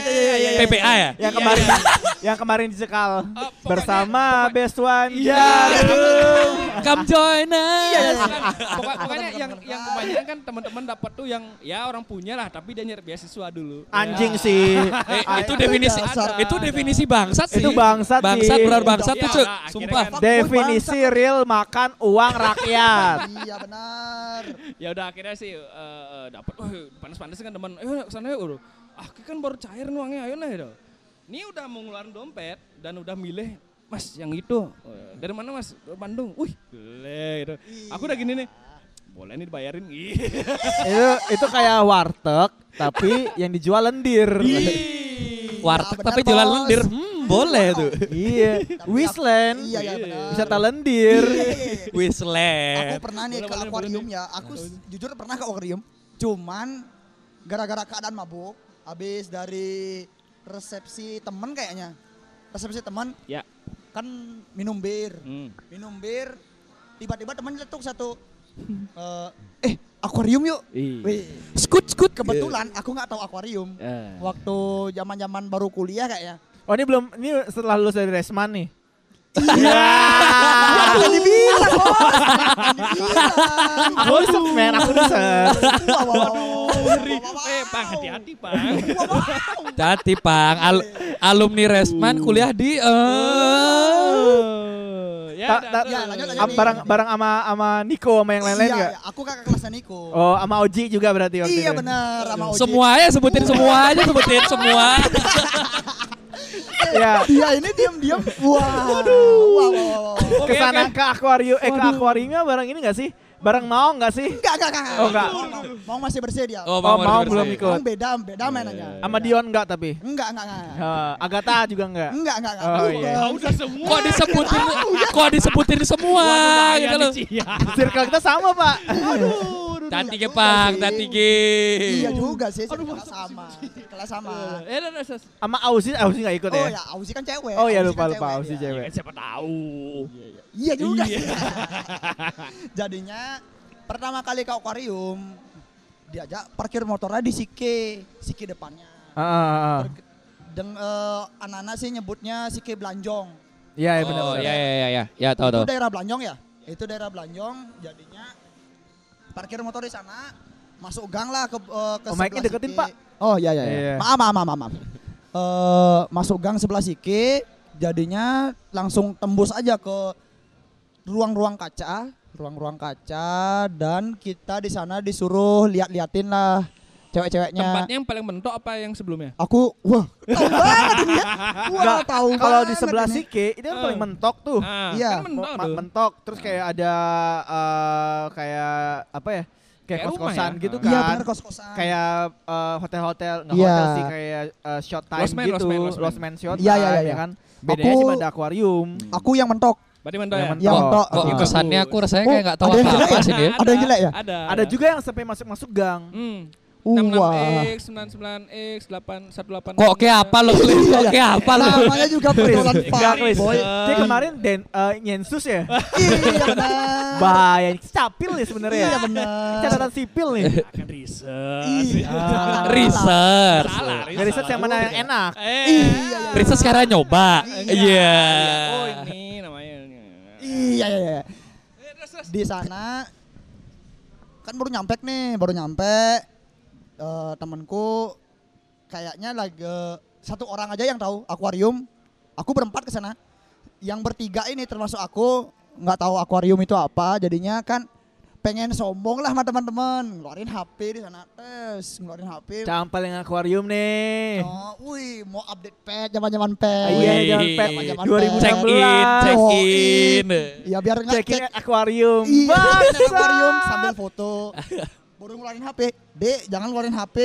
Speaker 4: PPA ya.
Speaker 1: Yang kemarin (laughs) yang kemarin dicekal
Speaker 3: Iya, Oh, pokoknya- Iya.
Speaker 1: bersama besuan
Speaker 3: (laughs)
Speaker 1: jarum.
Speaker 4: Come join us.
Speaker 3: Pokok- pokoknya yang yang kebanyakan kan teman-teman dapat tuh yang ya orang punya lah tapi dia nyari beasiswa dulu. Ya.
Speaker 1: Anjing sih.
Speaker 4: Eh,
Speaker 3: Iya.
Speaker 1: Ah,
Speaker 4: itu definisi
Speaker 2: dasar.
Speaker 4: itu definisi bangsat sih.
Speaker 1: Itu bangsat sih.
Speaker 4: Bangsat benar bangsat
Speaker 3: Iya,
Speaker 4: tuh, Cuk.
Speaker 3: nah, akhirnya
Speaker 4: Sumpah.
Speaker 3: kan-
Speaker 1: (laughs) Definisi real makan uang
Speaker 3: (laughs)
Speaker 1: rakyat.
Speaker 2: Iya benar.
Speaker 3: Ya udah akhirnya sih eh, eh, dapat "Wih, panas-panas kan teman. Ayo kesana yuk. Bro." Ah, kita kan baru cair nih uangnya, ayo lah gitu. Ini udah mau ngeluarin dompet dan udah milih Mas yang itu Eh, dari mana Mas? "Dari Bandung. Wih, gile gitu. Aku udah gini nih. Boleh nih dibayarin. Ih.
Speaker 1: itu itu kayak warteg tapi yang dijual lendir.
Speaker 3: Iya.
Speaker 4: Warteg
Speaker 2: benar,
Speaker 4: tapi jualan
Speaker 2: Bos.
Speaker 4: lendir. Hmm, boleh tuh.
Speaker 1: iya, Wisland.
Speaker 2: Iya, iya benar.
Speaker 1: Wisata lendir.
Speaker 2: Iya, iya, iya. Aku
Speaker 4: Wislet.
Speaker 2: pernah nih
Speaker 3: Boleh,
Speaker 2: ke
Speaker 3: boleh,
Speaker 2: akuarium
Speaker 3: boleh.
Speaker 2: ya. Aku s- jujur pernah ke akuarium. Cuman gara-gara keadaan mabuk, habis dari resepsi temen kayaknya. Resepsi temen
Speaker 3: ya.
Speaker 2: kan minum bir.
Speaker 3: Hmm.
Speaker 2: Minum bir, tiba-tiba temen letuk satu. Eh, eh, akuarium yuk.
Speaker 3: Ih.
Speaker 2: Wih,
Speaker 4: Skut skut
Speaker 2: kebetulan aku nggak tahu akuarium.
Speaker 3: Eh.
Speaker 2: Waktu zaman-zaman baru kuliah kayaknya.
Speaker 1: Oh ini belum ini setelah lulus dari Resman nih. Iya.
Speaker 2: Akan dibilang, Bos. Akan dibilang.
Speaker 1: aku rusak men, aku rusak.
Speaker 2: Wah, wah, wah, wah, wah,
Speaker 3: Ngeri.
Speaker 2: wah, wah,
Speaker 3: Eh, Bang, hati-hati, Bang.
Speaker 4: Hati Pang, Al- alumni Resman kuliah di eh
Speaker 3: ya,
Speaker 1: Ta-
Speaker 3: udah,
Speaker 1: ta-
Speaker 3: tuh.
Speaker 2: Ya, lanjut, lanjut.
Speaker 1: Am, bareng bareng sama sama Niko sama yang lain-lain
Speaker 2: Iya,
Speaker 1: enggak?
Speaker 2: iya, Aku kakak kelasnya Niko.
Speaker 1: Oh, sama Oji juga berarti waktu
Speaker 2: iya
Speaker 1: itu. ya?
Speaker 2: benar sama Oji.
Speaker 4: semuanya ya, sebutin semuanya sebutin semua.
Speaker 1: Iya.
Speaker 2: Iya ini diam-diam.
Speaker 1: (laughs)
Speaker 2: Wah. Aduh. Wah, wah, wah, wah.
Speaker 1: Ke sana ke akuarium eh ke akuariumnya bareng ini enggak sih? Bareng mau enggak sih?
Speaker 2: Enggak, enggak, enggak.
Speaker 1: Oh, enggak.
Speaker 2: Mau masih bersih dia.
Speaker 1: Oh,
Speaker 4: Oh, Bang
Speaker 1: mau
Speaker 4: Wardi
Speaker 1: belum
Speaker 4: bersih.
Speaker 1: ikut.
Speaker 2: Emang beda, beda mainannya.
Speaker 1: Sama
Speaker 2: Iya.
Speaker 1: Dion enggak tapi?
Speaker 2: Enggak, enggak, enggak.
Speaker 1: Eh, Agatha juga enggak?
Speaker 2: Enggak, enggak, enggak.
Speaker 1: Oh,
Speaker 2: Bukan.
Speaker 1: iya.
Speaker 3: Ah, udah semua.
Speaker 4: Kok disebutin
Speaker 2: Iya.
Speaker 4: kok disebutin semua
Speaker 3: Waduh, bahaya
Speaker 4: gitu loh.
Speaker 3: nih, Ci, ya.
Speaker 1: Circle kita sama, Pak.
Speaker 3: Aduh, aduh,
Speaker 4: Tati
Speaker 2: iya juga
Speaker 4: Gepang,
Speaker 2: sih.
Speaker 4: Tati Ge.
Speaker 2: Iya juga sih,
Speaker 3: Aduh,
Speaker 2: kelas
Speaker 3: masa
Speaker 2: sama. Kelas sama.
Speaker 3: Eh, nah, nah, ses-
Speaker 1: Sama Ausi, Ausi nggak ikut
Speaker 2: Oh
Speaker 1: ya?
Speaker 2: ya, Ausi kan cewek.
Speaker 1: Oh ya
Speaker 2: Ausi
Speaker 1: lupa
Speaker 2: kan
Speaker 1: lupa Ausi
Speaker 2: dia.
Speaker 1: cewek.
Speaker 3: eh, siapa tahu.
Speaker 2: Iya juga. (laughs) Jadinya pertama kali ke akuarium diajak parkir motornya di Sike, Sike depannya.
Speaker 1: Ah, ah, ah.
Speaker 2: Per- Deng eh, anak-anak sih nyebutnya Sike Blanjong.
Speaker 1: Iya ya, benar.
Speaker 4: Oh,
Speaker 1: benar.
Speaker 4: ya ya ya ya. Ya tahu
Speaker 2: Itu
Speaker 4: tahu.
Speaker 2: daerah Blanjong ya? Itu daerah Blanjong, jadinya parkir motor di sana, masuk gang lah ke eh, ke
Speaker 1: Oh, mic-nya
Speaker 2: sebelah
Speaker 1: deketin,
Speaker 2: Sike.
Speaker 1: Pak.
Speaker 2: Oh iya iya. iya.
Speaker 1: Iya.
Speaker 2: Maaf maaf maaf maaf. Eh, masuk gang sebelah Sike, jadinya langsung tembus aja ke ruang-ruang kaca, ruang-ruang kaca dan kita di sana disuruh lihat-liatin lah cewek-ceweknya.
Speaker 3: Tempatnya yang paling mentok apa yang sebelumnya?
Speaker 2: Aku wah tahu banget ini ya. Wah,
Speaker 1: Nggak,
Speaker 2: tahu
Speaker 1: Kalau di
Speaker 2: banget
Speaker 1: sebelah
Speaker 2: ini.
Speaker 1: Sike itu kan
Speaker 3: Eh.
Speaker 1: paling mentok tuh.
Speaker 3: Ah,
Speaker 2: Iya.
Speaker 3: kan mentok
Speaker 1: Ma-
Speaker 3: tuh. Ah.
Speaker 1: mentok terus kayak ada eh, kayak apa ya? Kayak
Speaker 3: Kayak rumah
Speaker 1: kos-kosan
Speaker 3: ya?
Speaker 1: gitu
Speaker 3: Ah.
Speaker 1: kan.
Speaker 2: Iya benar kos-kosan.
Speaker 1: kayak eh, hotel-hotel nggak
Speaker 2: Iya.
Speaker 1: hotel sih kayak eh, short time
Speaker 3: Lost man,
Speaker 1: gitu
Speaker 3: lost man, lost man.
Speaker 1: short
Speaker 2: Iya, iya,
Speaker 1: time
Speaker 2: iya.
Speaker 1: ya kan bedanya
Speaker 2: Aku-
Speaker 1: cuma ada akuarium
Speaker 2: Aku yang mentok.
Speaker 3: Berarti mentok
Speaker 1: Yang
Speaker 3: ya? Nah,
Speaker 1: mentok.
Speaker 2: Yang mentok.
Speaker 4: Kok
Speaker 1: Gitu.
Speaker 4: kesannya aku rasanya kayak
Speaker 2: Oh,
Speaker 4: nggak tahu
Speaker 2: ada yang
Speaker 4: apa-apa
Speaker 2: jelek
Speaker 4: sih dia.
Speaker 2: Ada yang jelek ya?
Speaker 3: Ada.
Speaker 1: ada juga yang sampai masuk masuk gang
Speaker 3: Hmm.
Speaker 2: Wah.
Speaker 3: 66X, 99X, 818.
Speaker 4: Kok kayak apa lo?
Speaker 2: Iya,
Speaker 4: Kok
Speaker 2: iya.
Speaker 4: kayak apa lo?
Speaker 2: Namanya juga pergaulan
Speaker 3: Chris.
Speaker 2: Pak.
Speaker 3: Nah, Chris.
Speaker 2: Boy.
Speaker 1: jadi kemarin den eh, nyensus ya
Speaker 2: Iya benar.
Speaker 1: bahaya capil nih
Speaker 3: ya?
Speaker 1: sebenarnya
Speaker 2: Iya benar.
Speaker 1: catatan sipil nih
Speaker 3: Akan riset.
Speaker 2: Iya. Salah.
Speaker 4: Research.
Speaker 3: Salah,
Speaker 1: dari riset yang mana yang enak
Speaker 3: Eh.
Speaker 2: Iya.
Speaker 4: Research sekarang nyoba. Iya.
Speaker 3: Oh, ini namanya.
Speaker 2: Iya iya iya.
Speaker 3: Eh, terus, terus.
Speaker 2: Di sana kan baru nyampe nih, baru nyampe eh, temanku kayaknya lagi satu orang aja yang tahu akuarium. Aku berempat ke sana. Yang bertiga ini termasuk aku nggak tahu akuarium itu apa, jadinya kan pengen sombong lah sama teman-teman. Ngeluarin HP di sana, tes, ngeluarin HP.
Speaker 1: campel yang akuarium nih
Speaker 2: Oh, wih, mau update pet, zaman-zaman pet.
Speaker 1: Iya,
Speaker 4: Wih.
Speaker 1: jangan pet.
Speaker 4: Check
Speaker 2: Zaman-zaman
Speaker 4: in, check
Speaker 1: 2016.
Speaker 4: in.
Speaker 2: Oh, Iya, biar nggak
Speaker 1: Check-in akuarium.
Speaker 2: Iya,
Speaker 1: Bangsat.
Speaker 2: di akuarium sambil foto. Baru ngeluarin HP. Dek, jangan ngeluarin HP.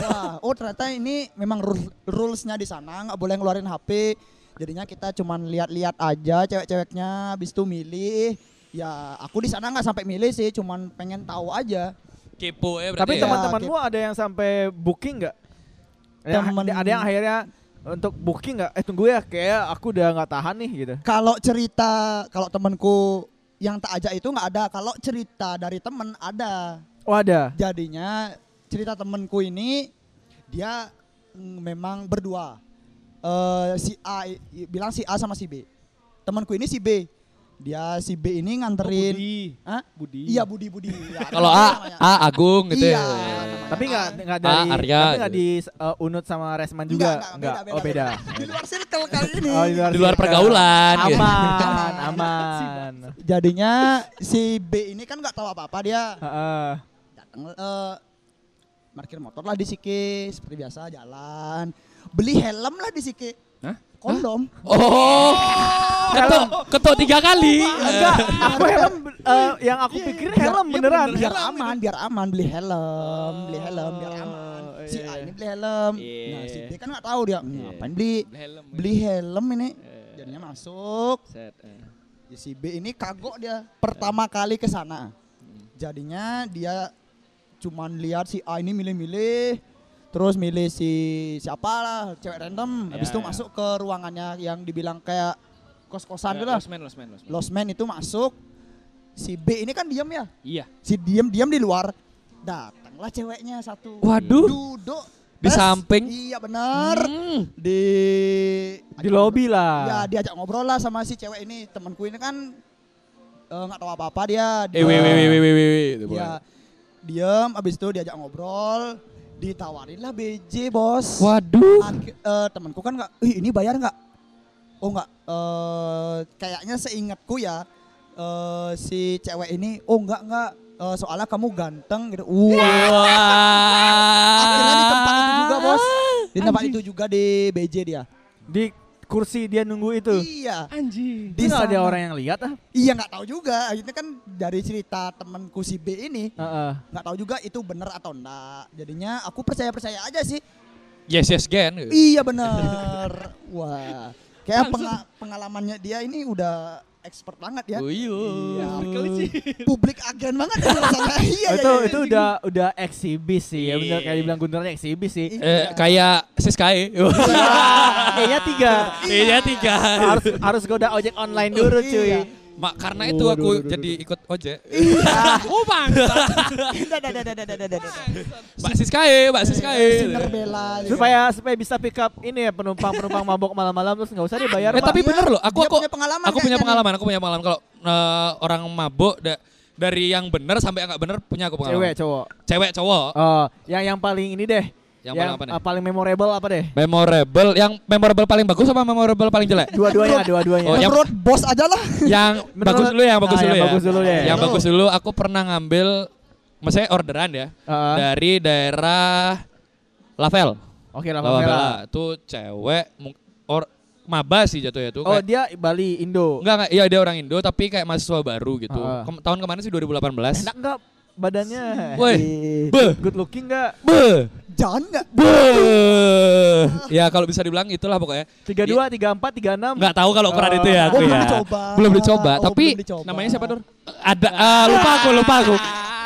Speaker 2: Wah, oh ternyata ini memang rule- rules-nya di sana nggak boleh ngeluarin HP. Jadinya kita cuman lihat-lihat aja cewek-ceweknya habis itu milih. Ya, aku di sana nggak sampai milih sih, cuman pengen tahu aja.
Speaker 4: Kepo ya berarti.
Speaker 1: Tapi
Speaker 4: ya.
Speaker 2: teman-
Speaker 1: teman-temanmu ada yang sampai booking nggak? Yang-
Speaker 2: Temen-
Speaker 1: Ada yang akhirnya untuk booking nggak? Eh tunggu ya, kayak aku udah nggak tahan nih gitu.
Speaker 2: Kalau cerita kalau temanku yang tak ajak itu nggak ada. Kalau cerita dari temen ada.
Speaker 1: Oh ada.
Speaker 2: jadinya cerita temenku ini dia mm, memang berdua Eh si A i- i- bilang si A sama si B temanku ini si B dia si B ini
Speaker 1: Oh,
Speaker 2: nganterin Hah?
Speaker 3: Budi.
Speaker 2: iya Oh, Budi Budi ya,
Speaker 4: Kalau
Speaker 2: namanya,
Speaker 4: A,
Speaker 2: namanya.
Speaker 4: A Agung gitu
Speaker 2: Iya,
Speaker 4: ya.
Speaker 2: namanya.
Speaker 1: Tapi nggak nggak
Speaker 4: Ah,
Speaker 1: dari
Speaker 4: Arya
Speaker 1: tapi nggak
Speaker 4: gitu.
Speaker 1: di eh, Unut sama Resman juga
Speaker 2: enggak,
Speaker 1: Nggak? oh beda.
Speaker 2: di luar circle kali ini
Speaker 1: Oh,
Speaker 4: Di luar
Speaker 1: circle.
Speaker 4: pergaulan gitu.
Speaker 1: Aman, aman.
Speaker 2: jadinya si B ini kan nggak tahu apa apa dia
Speaker 1: Heeh.
Speaker 2: datang eh parkir motor lah di Sike seperti biasa jalan beli helm lah di Sike
Speaker 3: Hah?
Speaker 2: kondom
Speaker 4: Oh. Ketuk, ketuk tiga kali.
Speaker 2: Oh,
Speaker 1: Enggak, aku helm eh, yang aku pikirin helm
Speaker 2: Iya,
Speaker 1: beneran.
Speaker 2: biar aman biar aman beli helm beli helm biar aman si A ini beli helm nah si B kan nggak tahu dia "Hmm, ngapain beli
Speaker 3: Helm.
Speaker 2: beli helm ini Iya. jadinya masuk
Speaker 3: Set. eh.
Speaker 2: Ya, si B ini kagok dia pertama kali ke sana jadinya dia cuman lihat si A ini milih-milih terus milih si siapa lah cewek random habis
Speaker 3: Ya,
Speaker 2: itu
Speaker 3: ya.
Speaker 2: masuk ke ruangannya yang dibilang kayak kos-kosan
Speaker 3: Eh,
Speaker 2: itu lah
Speaker 3: Lost man, lost man, lost man.
Speaker 2: Lost man itu masuk si B ini kan diam ya
Speaker 3: Iya.
Speaker 2: si diem diem di luar datanglah ceweknya satu
Speaker 4: Waduh.
Speaker 2: duduk
Speaker 4: Di
Speaker 2: Tes.
Speaker 4: samping.
Speaker 2: iya benar
Speaker 4: Hmm.
Speaker 2: di
Speaker 1: Di lobby
Speaker 2: ya
Speaker 1: lah.
Speaker 2: diajak ngobrol lah sama si cewek ini temanku ini kan eh, nggak tahu apa apa dia
Speaker 4: Eh, weh, weh, weh, weh, weh, weh. gitu, Itu bukan.
Speaker 2: dia diem abis itu diajak ngobrol ditawarin lah BJ bos
Speaker 4: Waduh.
Speaker 2: Ak- eh, temanku kan nggak ih ini bayar nggak oh nggak eh kayaknya seingatku ya eh, si cewek ini oh nggak nggak Eh, soalnya kamu ganteng gitu wah
Speaker 4: Wah.
Speaker 2: akhirnya di tempat itu juga bos di tempat itu juga di BJ dia
Speaker 1: Di kursi dia nunggu itu.
Speaker 2: iya
Speaker 3: Anjing.
Speaker 1: Di nggak ada
Speaker 2: sana.
Speaker 1: orang yang lihat ah.
Speaker 2: iya nggak tahu juga akhirnya kan dari cerita temanku si B ini
Speaker 1: Heeh.
Speaker 2: nggak tahu juga itu bener atau enggak jadinya aku percaya percaya aja sih
Speaker 4: Yes, yes, gen.
Speaker 2: Iya benar. Wah. Kayak penga- pengalamannya dia ini udah expert banget ya.
Speaker 4: Uyuh.
Speaker 2: Iya.
Speaker 3: Kelinci.
Speaker 2: Publik agen banget ya rasanya. (laughs) Iya, iya,
Speaker 1: itu
Speaker 2: iya.
Speaker 1: itu udah udah eksibis sih ya bener
Speaker 3: Iya.
Speaker 1: kayak dibilang Gunernya eksibis
Speaker 2: iya.
Speaker 1: sih.
Speaker 4: Eh, kayak Siskai.
Speaker 1: Kayaknya tiga
Speaker 4: Iya tiga.
Speaker 1: harus harus goda ojek online dulu cuy.
Speaker 2: Iya.
Speaker 4: Mak karena itu aku jadi ikut ojek. (laughs)
Speaker 3: Oh bangsa.
Speaker 2: Dah, dah, dah, dah, dah, dah, dah, dah.
Speaker 4: Mbak Siskae, Mbak
Speaker 2: Iya,
Speaker 4: Siskae.
Speaker 2: Sinar bela. gitu.
Speaker 1: Supaya supaya bisa pick up ini ya penumpang-penumpang mabok malam-malam terus nggak usah dibayar.
Speaker 4: Eh,
Speaker 1: Pak.
Speaker 4: tapi bener loh, aku
Speaker 2: Dia
Speaker 4: aku
Speaker 2: punya pengalaman
Speaker 1: ya,
Speaker 4: aku punya
Speaker 2: kayaknya
Speaker 4: pengalaman, aku punya pengalaman kalau eh, orang mabuk da- dari yang bener sampai yang nggak bener punya aku
Speaker 1: cewek
Speaker 4: pengalaman.
Speaker 1: cowok.
Speaker 4: Cewek cowok.
Speaker 1: Oh, yang yang paling ini deh.
Speaker 4: Yang paling apa nih?
Speaker 1: eh, paling memorable apa deh?
Speaker 4: Memorable, yang memorable paling bagus apa memorable paling
Speaker 1: (laughs)
Speaker 4: jelek?
Speaker 1: Dua-duanya, dua-duanya.
Speaker 4: Oh, yang-
Speaker 2: Menurut bos aja lah.
Speaker 4: yang
Speaker 1: Menurut-
Speaker 4: bagus dulu yang bagus
Speaker 1: Nah,
Speaker 4: dulu
Speaker 1: yang
Speaker 4: ya.
Speaker 1: bagus dulu deh.
Speaker 4: Yang
Speaker 2: Itu.
Speaker 4: bagus dulu aku pernah ngambil maksudnya orderan ya
Speaker 1: Heeh.
Speaker 4: dari daerah Lavel.
Speaker 1: Oke, Lava Vela.
Speaker 4: Lavel itu cewek mung- or maba sih jatuhnya tuh
Speaker 1: Oh,
Speaker 4: kayak
Speaker 1: dia Bali Indo.
Speaker 4: Enggak, enggak, iya dia orang Indo tapi kayak mahasiswa baru gitu.
Speaker 1: Heeh.
Speaker 4: Kem- tahun kemarin sih 2018.
Speaker 1: Enak enggak badannya?
Speaker 4: Woi.
Speaker 1: Ih,
Speaker 4: Beuh.
Speaker 1: Good looking enggak?
Speaker 4: Beuh.
Speaker 2: Jangan nggak.
Speaker 4: Beuh. Ya kalau bisa dibilang itulah pokoknya.
Speaker 1: 32,
Speaker 4: Iya.
Speaker 1: 34, 36.
Speaker 4: Enggak tahu kalau ukuran itu ya
Speaker 2: Oh,
Speaker 4: aku
Speaker 2: belum
Speaker 4: ya.
Speaker 2: dicoba.
Speaker 4: Belum dicoba,
Speaker 2: Oh,
Speaker 4: tapi
Speaker 2: belum dicoba.
Speaker 4: namanya siapa, Dur? Ada ah, lupa aku, lupa aku.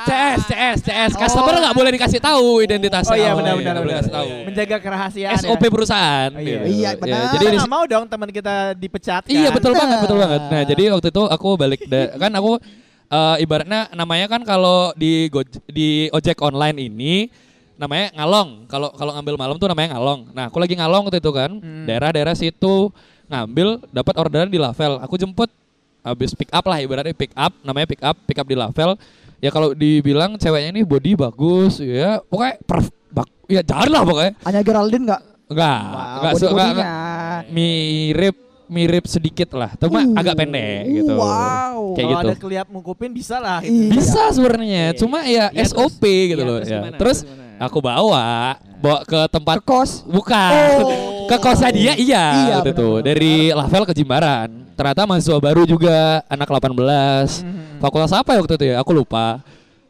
Speaker 4: CS, CS, CS. Customer nggak boleh dikasih tahu identitasnya.
Speaker 1: Oh iya
Speaker 4: Oh,
Speaker 1: benar
Speaker 4: nggak
Speaker 1: benar
Speaker 4: boleh
Speaker 1: benar.
Speaker 4: dikasih tahu.
Speaker 1: Menjaga kerahasiaan.
Speaker 4: SOP
Speaker 1: ya.
Speaker 4: perusahaan.
Speaker 1: Oh, iya.
Speaker 4: gitu.
Speaker 2: Iya,
Speaker 4: Ya,
Speaker 2: benar.
Speaker 4: Jadi
Speaker 1: Kita
Speaker 4: di
Speaker 1: nggak mau dong teman kita dipecat
Speaker 4: Iya
Speaker 1: kan?
Speaker 4: betul banget betul banget. Nah
Speaker 2: Nah.
Speaker 4: jadi waktu itu aku balik da- kan aku eh, ibaratnya namanya kan kalau di Goj- di ojek online ini namanya ngalong. Kalau kalau ngambil malam tuh namanya ngalong. Nah aku lagi ngalong waktu itu kan
Speaker 1: Hmm.
Speaker 4: daerah-daerah situ ngambil dapat orderan di Lavel. Aku jemput habis pick up lah ibaratnya pick up namanya pick up pick up di Lavel. Ya kalau dibilang ceweknya ini body bagus ya pokoknya perf- bak- ya jahat lah pokoknya.
Speaker 2: Hanya Geraldine nggak?
Speaker 4: Enggak,
Speaker 2: Wah,
Speaker 4: enggak, su- enggak, enggak,
Speaker 2: body-bodinya.
Speaker 4: mirip mirip sedikit lah, cuma
Speaker 2: Uh,
Speaker 4: agak pendek gitu.
Speaker 2: Wow.
Speaker 4: Kayak
Speaker 1: Kalau
Speaker 4: gitu.
Speaker 1: ada keliat mungkupin bisa lah.
Speaker 2: Iya.
Speaker 4: Bisa sebenarnya,
Speaker 3: Iya,
Speaker 4: cuma ya
Speaker 3: Iya,
Speaker 4: SOP
Speaker 3: terus-
Speaker 4: gitu
Speaker 3: iya,
Speaker 4: loh.
Speaker 3: terus
Speaker 4: ya.
Speaker 3: gimana?
Speaker 4: Terus,
Speaker 3: Terus gimana?
Speaker 4: aku bawa bawa ke tempat
Speaker 2: Ke kos.
Speaker 4: bukan
Speaker 2: Oh.
Speaker 4: ke kosnya dia iya,
Speaker 2: Iya,
Speaker 4: gitu tuh.
Speaker 2: benar-benar.
Speaker 4: dari Lavel ke Jimbaran. Ternyata mahasiswa baru juga, anak 18.
Speaker 2: Mm-hmm.
Speaker 4: Fakultas apa ya waktu itu ya? Aku lupa.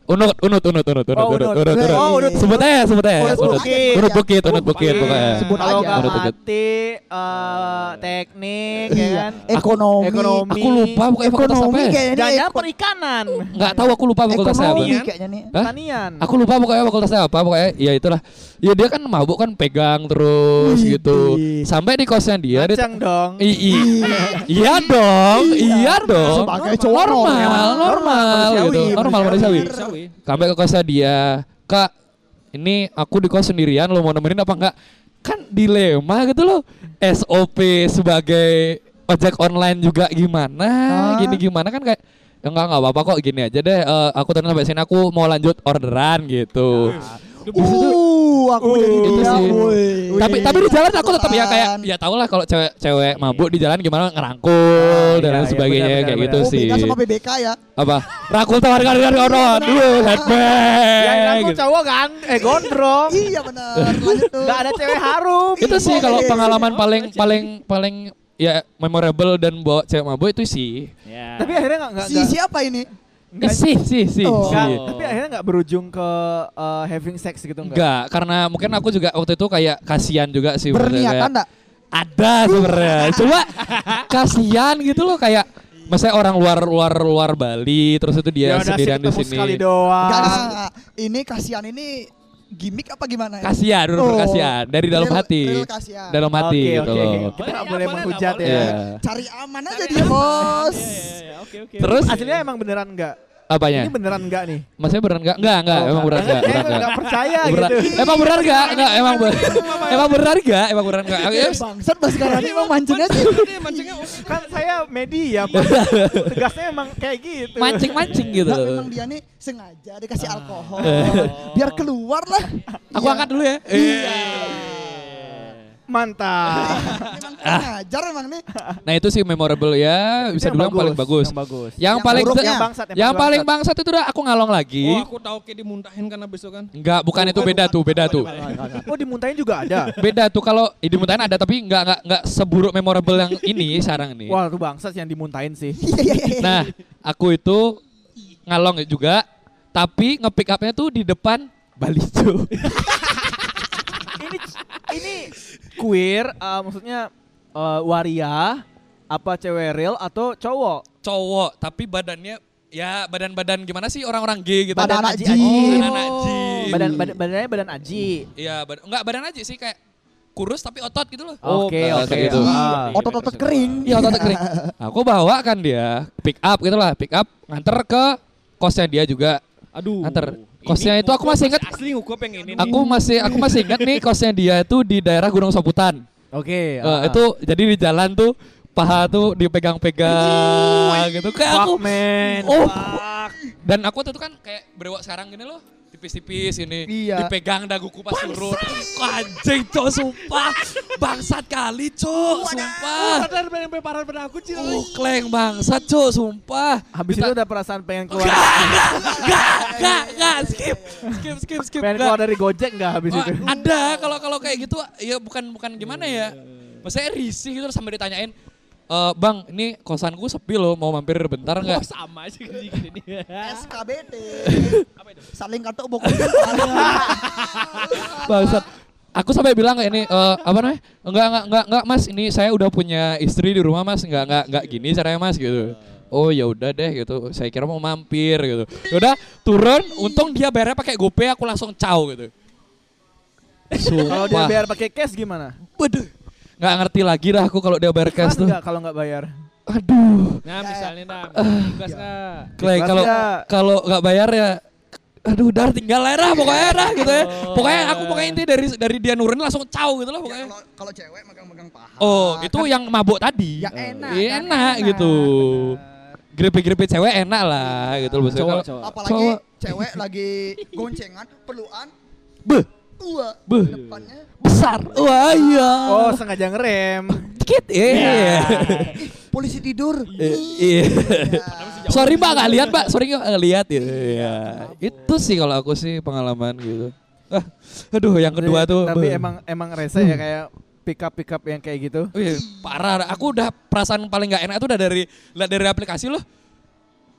Speaker 4: Unut, unut, unut, unut, unut,
Speaker 1: Oh,
Speaker 4: unut,
Speaker 1: Unut.
Speaker 4: unut, unut.
Speaker 1: Oh, Unut.
Speaker 4: Sebut gitu, aja, sebut aja.
Speaker 1: Unut Bukit.
Speaker 4: Unut bukit, unut bukit,
Speaker 3: Bukit.
Speaker 4: pokoknya.
Speaker 2: Sebut
Speaker 1: Kalau
Speaker 2: aja.
Speaker 1: nggak
Speaker 4: Menurut aku.
Speaker 1: mati eh, teknik ya
Speaker 2: Iya.
Speaker 1: kan.
Speaker 2: Ekonomi.
Speaker 1: Ekonomi.
Speaker 4: Aku lupa pokoknya fakultas apa
Speaker 2: Ekonomi
Speaker 4: ya?
Speaker 2: kayaknya nih.
Speaker 1: Jangan
Speaker 2: Eko-
Speaker 1: perikanan.
Speaker 4: Enggak tahu aku lupa fakultasnya apa. Iya.
Speaker 2: Ekonomi
Speaker 3: Pertanian.
Speaker 2: kayaknya nih.
Speaker 4: Hah?
Speaker 1: Pertanian.
Speaker 4: Aku lupa pokoknya fakultasnya apa pokoknya ya itulah. Ya dia kan mabuk kan pegang terus
Speaker 2: Widih.
Speaker 4: gitu. Sampai di kosnya iya, dia di-
Speaker 1: Kacang dong.
Speaker 4: I, i, (laughs) iya dong, iya dong.
Speaker 2: Sebagai cowok
Speaker 4: normal,
Speaker 2: normal.
Speaker 4: normal,
Speaker 1: Normal,
Speaker 4: gitu.
Speaker 1: manusiawi,
Speaker 4: Normal manusiawi.
Speaker 2: manusiawi.
Speaker 3: Sawi.
Speaker 4: Sampai ke kosnya dia, Kak, ini aku di kos sendirian, lo mau nemenin apa enggak? Kan dilema gitu loh. SOP sebagai ojek online juga gimana,
Speaker 2: Ah.
Speaker 4: gini gimana kan kayak "Ya enggak enggak apa-apa kok gini aja deh. eh, aku tadi sampai sini aku mau lanjut orderan gitu.
Speaker 2: Uh, aku jadi
Speaker 4: Itu
Speaker 2: dia,
Speaker 4: gitu sih.
Speaker 2: woy.
Speaker 4: tapi tapi di jalan aku tetap ya kayak
Speaker 2: Kesan.
Speaker 4: ya tau lah kalau cewek-cewek mabuk di jalan gimana ngerangkul
Speaker 1: Ah,
Speaker 4: dan
Speaker 1: iya,
Speaker 4: lain
Speaker 1: iya,
Speaker 4: sebagainya
Speaker 1: benar,
Speaker 4: kayak
Speaker 1: benar,
Speaker 4: gitu
Speaker 2: Oh,
Speaker 4: sih.
Speaker 2: beda sama BBK ya.
Speaker 4: Apa? Rangkul tawaran kan kan ono dulu
Speaker 1: Iya, Yang
Speaker 4: headbang.
Speaker 1: aku
Speaker 4: gitu.
Speaker 1: cowok kan, eh gondrong.
Speaker 2: Iya benar. Lanjut tuh.
Speaker 1: Gak ada cewek harum.
Speaker 4: Itu sih
Speaker 2: Iya,
Speaker 4: kalau
Speaker 2: iya, iya.
Speaker 4: pengalaman
Speaker 1: Oh,
Speaker 4: paling paling paling ya memorable dan bawa cewek mabuk itu sih.
Speaker 3: (laughs) Ya.
Speaker 1: Tapi akhirnya nggak nggak
Speaker 2: Si siapa ini?
Speaker 4: Iya,
Speaker 1: nggak
Speaker 4: sih sih sih. sih.
Speaker 2: Oh.
Speaker 1: nggak- Tapi akhirnya nggak berujung ke eh, having sex gitu nggak?
Speaker 4: Enggak, karena mungkin aku juga waktu itu kayak kasihan juga sih. maksudnya kayak-
Speaker 2: Berniatan enggak?
Speaker 4: ada sebenarnya cuma kasihan gitu loh kayak Maksudnya orang luar luar luar Bali terus itu
Speaker 1: Ya udah
Speaker 4: dia
Speaker 1: sih,
Speaker 4: sendirian di
Speaker 1: ketemu
Speaker 4: iya, sini.
Speaker 1: sekali doang.
Speaker 2: Enggak,
Speaker 4: Ah.
Speaker 2: enggak, enggak. Ini kasihan ini gimmick apa gimana ya?
Speaker 4: Kasihan, bener
Speaker 2: Oh.
Speaker 4: kasihan dari dalam
Speaker 2: Real-
Speaker 4: hati.
Speaker 2: real kasihan.
Speaker 4: Dalam hati
Speaker 1: Oke,
Speaker 4: gitu
Speaker 1: oke.
Speaker 4: loh.
Speaker 1: Kita nggak
Speaker 3: Boleh,
Speaker 1: boleh
Speaker 3: boleh,
Speaker 1: menghujat
Speaker 3: nggak
Speaker 1: ya.
Speaker 4: Iya.
Speaker 2: Cari aman aja
Speaker 3: Cari
Speaker 2: dia,
Speaker 3: aman.
Speaker 2: Bos.
Speaker 3: Iya, iya, iya. Oke, oke.
Speaker 4: Terus
Speaker 1: Aslinya emang beneran nggak?
Speaker 4: apanya?
Speaker 1: Ini beneran nggak nih?
Speaker 4: Maksudnya beneran enggak? Enggak, Iya. enggak, emang beneran enggak,
Speaker 1: Kayaknya
Speaker 4: beneran enggak.
Speaker 1: nggak percaya
Speaker 4: Beneran-
Speaker 1: gitu.
Speaker 4: Emang beneran enggak? Enggak, emang beneran. Emang beneran enggak? Emang beneran enggak? Oke, yes.
Speaker 2: Iya, Bangsat Mas sekarang ini emang mancingnya sih.
Speaker 3: Ini mancingnya oke.
Speaker 1: Kan saya media,
Speaker 4: (laughs)
Speaker 1: Pak. Tugasnya emang kayak gitu.
Speaker 4: Mancing-mancing gitu. Ah.
Speaker 2: Nah,
Speaker 4: loh.
Speaker 2: memang dia nih sengaja dikasih alkohol biar keluar lah. Iya.
Speaker 4: Aku angkat dulu ya.
Speaker 1: Iya. Mantap.
Speaker 2: Emang ngajar emang nih.
Speaker 4: Nah, itu sih memorable ya, bisa
Speaker 1: Yang
Speaker 4: dibilang paling bagus.
Speaker 1: Yang bagus.
Speaker 4: Yang
Speaker 2: Yang
Speaker 4: paling
Speaker 2: buruk
Speaker 1: yang
Speaker 2: Yang
Speaker 1: bangsat
Speaker 4: Yang paling bangsat itu udah aku ngalong lagi.
Speaker 3: Oh, aku tahu kayak dimuntahin kan abis itu kan.
Speaker 4: Enggak, bukan itu beda tuh, beda tuh.
Speaker 1: Oh dimuntahin juga
Speaker 4: (laughs)
Speaker 1: ada.
Speaker 4: Beda tuh kalau eh, dimuntahin ada tapi enggak enggak enggak seburuk memorable yang ini sekarang nih.
Speaker 1: Wah itu bangsat yang dimuntahin sih.
Speaker 2: Iya iya iya.
Speaker 4: Nah, aku itu ngalong juga tapi nge-pick up-nya tuh di depan Bali Jo.
Speaker 1: ini ini queer eh, maksudnya eh, waria Apa cewek real atau cowok?
Speaker 4: (laughs) cowok tapi badannya ya badan-badan gimana sih orang-orang gay gitu
Speaker 2: Badan aji.
Speaker 1: aji.
Speaker 4: badan aji
Speaker 1: Oh. Badan, badan badannya badan aji.
Speaker 4: iya bad- enggak badan aji sih kayak kurus tapi otot gitu loh
Speaker 1: Oke,
Speaker 4: Oh,
Speaker 1: oke.
Speaker 4: kayak gitu.
Speaker 1: Ah.
Speaker 2: Otot-otot kering.
Speaker 4: Iya otot
Speaker 1: (laughs)
Speaker 4: kering. Aku bawa kan dia pick up gitu lah, pick up nganter ke kosnya dia juga.
Speaker 3: Aduh.
Speaker 4: Ntar,
Speaker 3: Ini
Speaker 4: kosnya itu aku
Speaker 3: kuku
Speaker 4: masih ingat.
Speaker 3: Asli ngukup yang ini. nih.
Speaker 4: Aku masih aku masih ingat nih kosnya dia itu di daerah Gunung Saputan.
Speaker 1: Oke.
Speaker 4: Eh,
Speaker 1: ah.
Speaker 4: itu jadi di jalan tuh paha tuh dipegang-pegang gitu kayak
Speaker 1: fuck
Speaker 4: aku.
Speaker 1: man.
Speaker 4: Oh. Dan aku tuh kan kayak berewok sekarang gini loh tipis-tipis ini
Speaker 2: Iya.
Speaker 4: dipegang daguku pas turun Wah, anjing cok sumpah bangsat kali cok sumpah
Speaker 3: Sadar yang parah pada aku Cil.
Speaker 4: Uh, kleng bangsat cok sumpah
Speaker 1: Habis itu udah perasaan pengen keluar,
Speaker 4: Gak, gak, gak, gak, gak, skip, skip, skip, skip.
Speaker 1: pengen
Speaker 4: gak.
Speaker 1: keluar dari Gojek nggak habis
Speaker 4: Oh,
Speaker 1: itu?
Speaker 4: ada kalau kalau kayak gitu ya bukan bukan gimana ya. Maksudnya risih gitu sampai ditanyain "Eh, bang, ini kosanku sepi loh, mau mampir bentar
Speaker 3: Oh,
Speaker 4: nggak?
Speaker 3: sama sih gini
Speaker 2: (laughs)
Speaker 3: gini.
Speaker 2: SKBT.
Speaker 4: (laughs)
Speaker 3: Apa itu?
Speaker 2: Saling kartu bokong. Alah.
Speaker 4: Bangsat. Aku sampai bilang kayak ini eh, apa namanya? Enggak, enggak, enggak, enggak, Mas. Ini saya udah punya istri di rumah, Mas. Enggak, enggak, enggak gini caranya, Mas gitu. Oh ya udah deh gitu. Saya kira mau mampir gitu. Udah turun, untung dia bayarnya pakai GoPay, aku langsung caw gitu.
Speaker 1: Kalau dia
Speaker 4: Sumpah.
Speaker 1: bayar pakai cash gimana?
Speaker 4: Waduh. Nggak ngerti lagi lah aku kalau dia bayar cash
Speaker 1: Kan
Speaker 4: tuh.
Speaker 1: nggak kalau nggak bayar.
Speaker 4: Aduh.
Speaker 2: Ya,
Speaker 3: Nah, misalnya nah,
Speaker 4: Eh,
Speaker 3: gas enggak?
Speaker 4: Kleng
Speaker 1: Ikhlas
Speaker 4: kalau
Speaker 1: nggak?
Speaker 4: kalau nggak bayar ya aduh dar tinggal lah Dah, pokoknya dah gitu ya. Pokoknya aku pokoknya inti dari dari dia nurin langsung caw gitu loh
Speaker 2: Ya,
Speaker 4: pokoknya.
Speaker 2: kalau kalau cewek megang-megang paha.
Speaker 4: Oh, itu yang mabuk tadi.
Speaker 2: Ya enak,
Speaker 4: Iya,
Speaker 2: kan
Speaker 4: enak
Speaker 2: enak,
Speaker 4: gitu. Grepe-grepe cewek enak lah gitu loh maksudnya.
Speaker 3: Cowok,
Speaker 4: kalau-
Speaker 3: cowok.
Speaker 2: Apalagi
Speaker 4: Cowok.
Speaker 2: cewek lagi goncengan, perluan,
Speaker 4: Beh,
Speaker 2: tua,
Speaker 4: Beuh.
Speaker 2: depannya.
Speaker 4: besar. Wah, iya.
Speaker 1: Oh, sengaja ngerem.
Speaker 4: dikit. Iya.
Speaker 2: Ih, polisi tidur.
Speaker 4: Eh, Iya.
Speaker 2: Ya.
Speaker 4: Sorry Mbak nggak lihat, Mbak. Sorry nggak lihat gitu. Iya. Itu sih kalau aku sih pengalaman gitu. Ah, aduh, yang kedua
Speaker 1: Jadi,
Speaker 4: tuh.
Speaker 1: Tapi
Speaker 4: beuh.
Speaker 1: emang emang rese ya kayak pick up pick up yang kayak gitu.
Speaker 4: Wih, parah. Aku udah perasaan paling gak enak itu udah dari lihat dari aplikasi loh.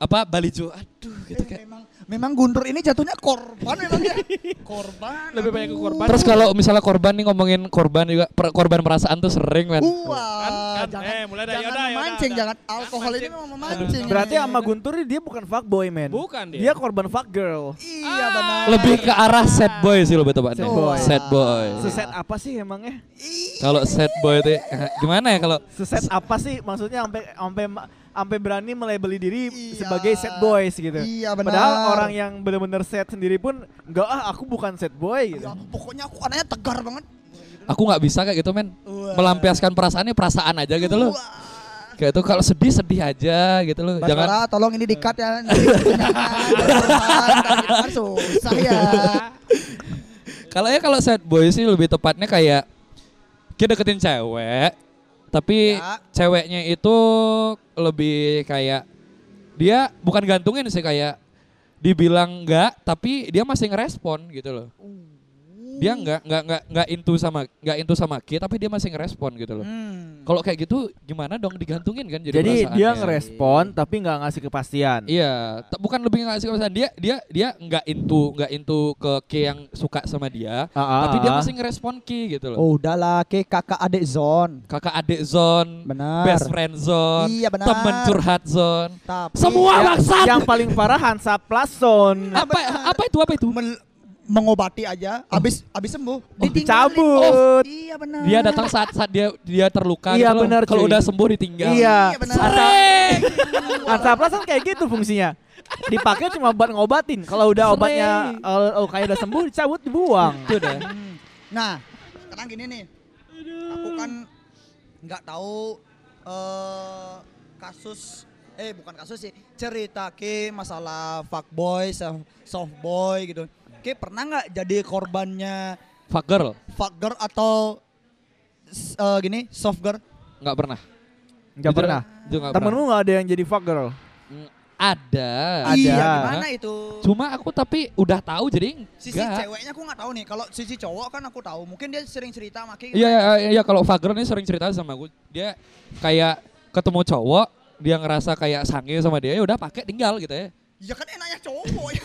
Speaker 4: Apa Balijo. Aduh gitu
Speaker 2: Eh,
Speaker 4: kayak.
Speaker 2: memang memang Guntur ini jatuhnya korban memang ya. korban.
Speaker 3: Lebih banyak ke korban.
Speaker 4: Terus kalau misalnya korban nih ngomongin korban juga per- korban perasaan tuh sering men.
Speaker 2: Gua.
Speaker 3: Kan, kan.
Speaker 2: Jangan,
Speaker 3: Eh, mulai dah,
Speaker 2: jangan
Speaker 3: yaudah, yaudah,
Speaker 2: memancing,
Speaker 3: yaudah.
Speaker 2: jangan alkohol ini memang memancing.
Speaker 1: Berarti sama Guntur dia bukan fuckboy man.
Speaker 3: Bukan dia.
Speaker 1: Dia korban fuck girl.
Speaker 3: Ah.
Speaker 2: Iya benar.
Speaker 4: Lebih ke arah sad boy sih lo tebatnya.
Speaker 1: Sad boy.
Speaker 4: Sad boy.
Speaker 1: Seset apa sih emangnya?
Speaker 4: Kalau sad boy tuh eh, gimana ya kalau
Speaker 1: Seset apa sih maksudnya sampai sampai sampai berani melebeli diri
Speaker 2: Iya.
Speaker 1: sebagai set boys gitu.
Speaker 2: Iya, benar.
Speaker 1: Padahal orang yang benar-benar set sendiri pun enggak ah aku bukan set boy gitu.
Speaker 2: Ya, pokoknya aku anaknya tegar banget.
Speaker 4: aku nggak bisa kayak gitu men.
Speaker 2: Wah.
Speaker 4: Melampiaskan perasaannya perasaan aja gitu loh.
Speaker 2: Wah.
Speaker 4: Kayak itu kalau sedih sedih aja gitu loh.
Speaker 2: Jangan.
Speaker 4: Jangan
Speaker 2: tolong ini dikat ya. Jangan. Susah ya.
Speaker 4: Kalau ya kalau sad boy sih lebih tepatnya kayak kita deketin cewek, tapi
Speaker 2: Ya.
Speaker 4: ceweknya itu lebih kayak dia bukan gantungin sih kayak dibilang enggak, tapi dia masih ngerespon gitu loh. Dia enggak enggak enggak enggak intu sama enggak intu sama kita, tapi dia masih ngerespon gitu loh.
Speaker 2: Hmm.
Speaker 4: Kalau kayak gitu gimana dong digantungin kan jadi,
Speaker 1: Jadi dia
Speaker 4: perasaannya.
Speaker 1: ngerespon tapi nggak ngasih kepastian.
Speaker 4: Iya, t- bukan lebih ngasih kepastian dia dia dia nggak intu nggak intu ke ke yang suka sama dia,
Speaker 1: Ah, ah,
Speaker 4: tapi dia
Speaker 1: ah.
Speaker 4: masih ngerespon ki gitu loh.
Speaker 2: Oh udahlah ke kakak adik zone.
Speaker 4: Kakak adik zone,
Speaker 2: Benar.
Speaker 4: best friend zone,
Speaker 2: Iya, benar.
Speaker 4: temen curhat zone,
Speaker 2: Tapi
Speaker 1: Ya,
Speaker 4: semua bangsat.
Speaker 1: yang paling parah Hansa Plason.
Speaker 4: apa apa itu apa itu?
Speaker 2: mel- mengobati aja habis habis sembuh ditinggalin.
Speaker 1: Dicabut.
Speaker 2: Iya benar.
Speaker 4: Oh, Dia datang saat saat dia dia terluka.
Speaker 1: Iya,
Speaker 4: gitu loh.
Speaker 1: benar,
Speaker 4: Kalau
Speaker 1: cuy.
Speaker 4: udah sembuh ditinggal.
Speaker 1: Iya.
Speaker 2: Iya, benar.
Speaker 1: Hansa,
Speaker 4: Sering.
Speaker 1: (laughs) Hansa Plus kan kayak gitu fungsinya. Dipakai cuma buat ngobatin. Kalau udah
Speaker 4: Sering.
Speaker 1: obatnya eh, oh, kayak udah sembuh dicabut dibuang.
Speaker 4: Itu dah.
Speaker 2: Nah, sekarang gini nih. Aku kan nggak tahu eh kasus eh bukan kasus sih, cerita ke masalah fuckboy, soft- softboy gitu. Ke pernah nggak jadi korbannya
Speaker 4: Fuck girl,
Speaker 2: fuck girl atau s- eh, gini soft girl?
Speaker 4: nggak pernah.
Speaker 1: Gak
Speaker 4: Jujur,
Speaker 1: pernah.
Speaker 4: jujur nggak pernah.
Speaker 1: Temenmu gak ada yang jadi fuck girl.
Speaker 4: Mm, Ada.
Speaker 1: Ada.
Speaker 2: Iya, gimana itu?
Speaker 4: Cuma aku tapi udah tahu jadi
Speaker 2: Sisi
Speaker 4: enggak.
Speaker 2: ceweknya aku nggak tahu nih. Kalau sisi cowok kan aku tahu. Mungkin dia sering cerita sama Ki.
Speaker 4: Iya, iya, iya, iya kalau Fagren ini sering cerita sama gue. Dia kayak ketemu cowok, dia ngerasa kayak sange sama dia, ya udah pakai tinggal gitu ya.
Speaker 2: Ya kan enaknya cowok.
Speaker 4: (laughs)
Speaker 2: ya.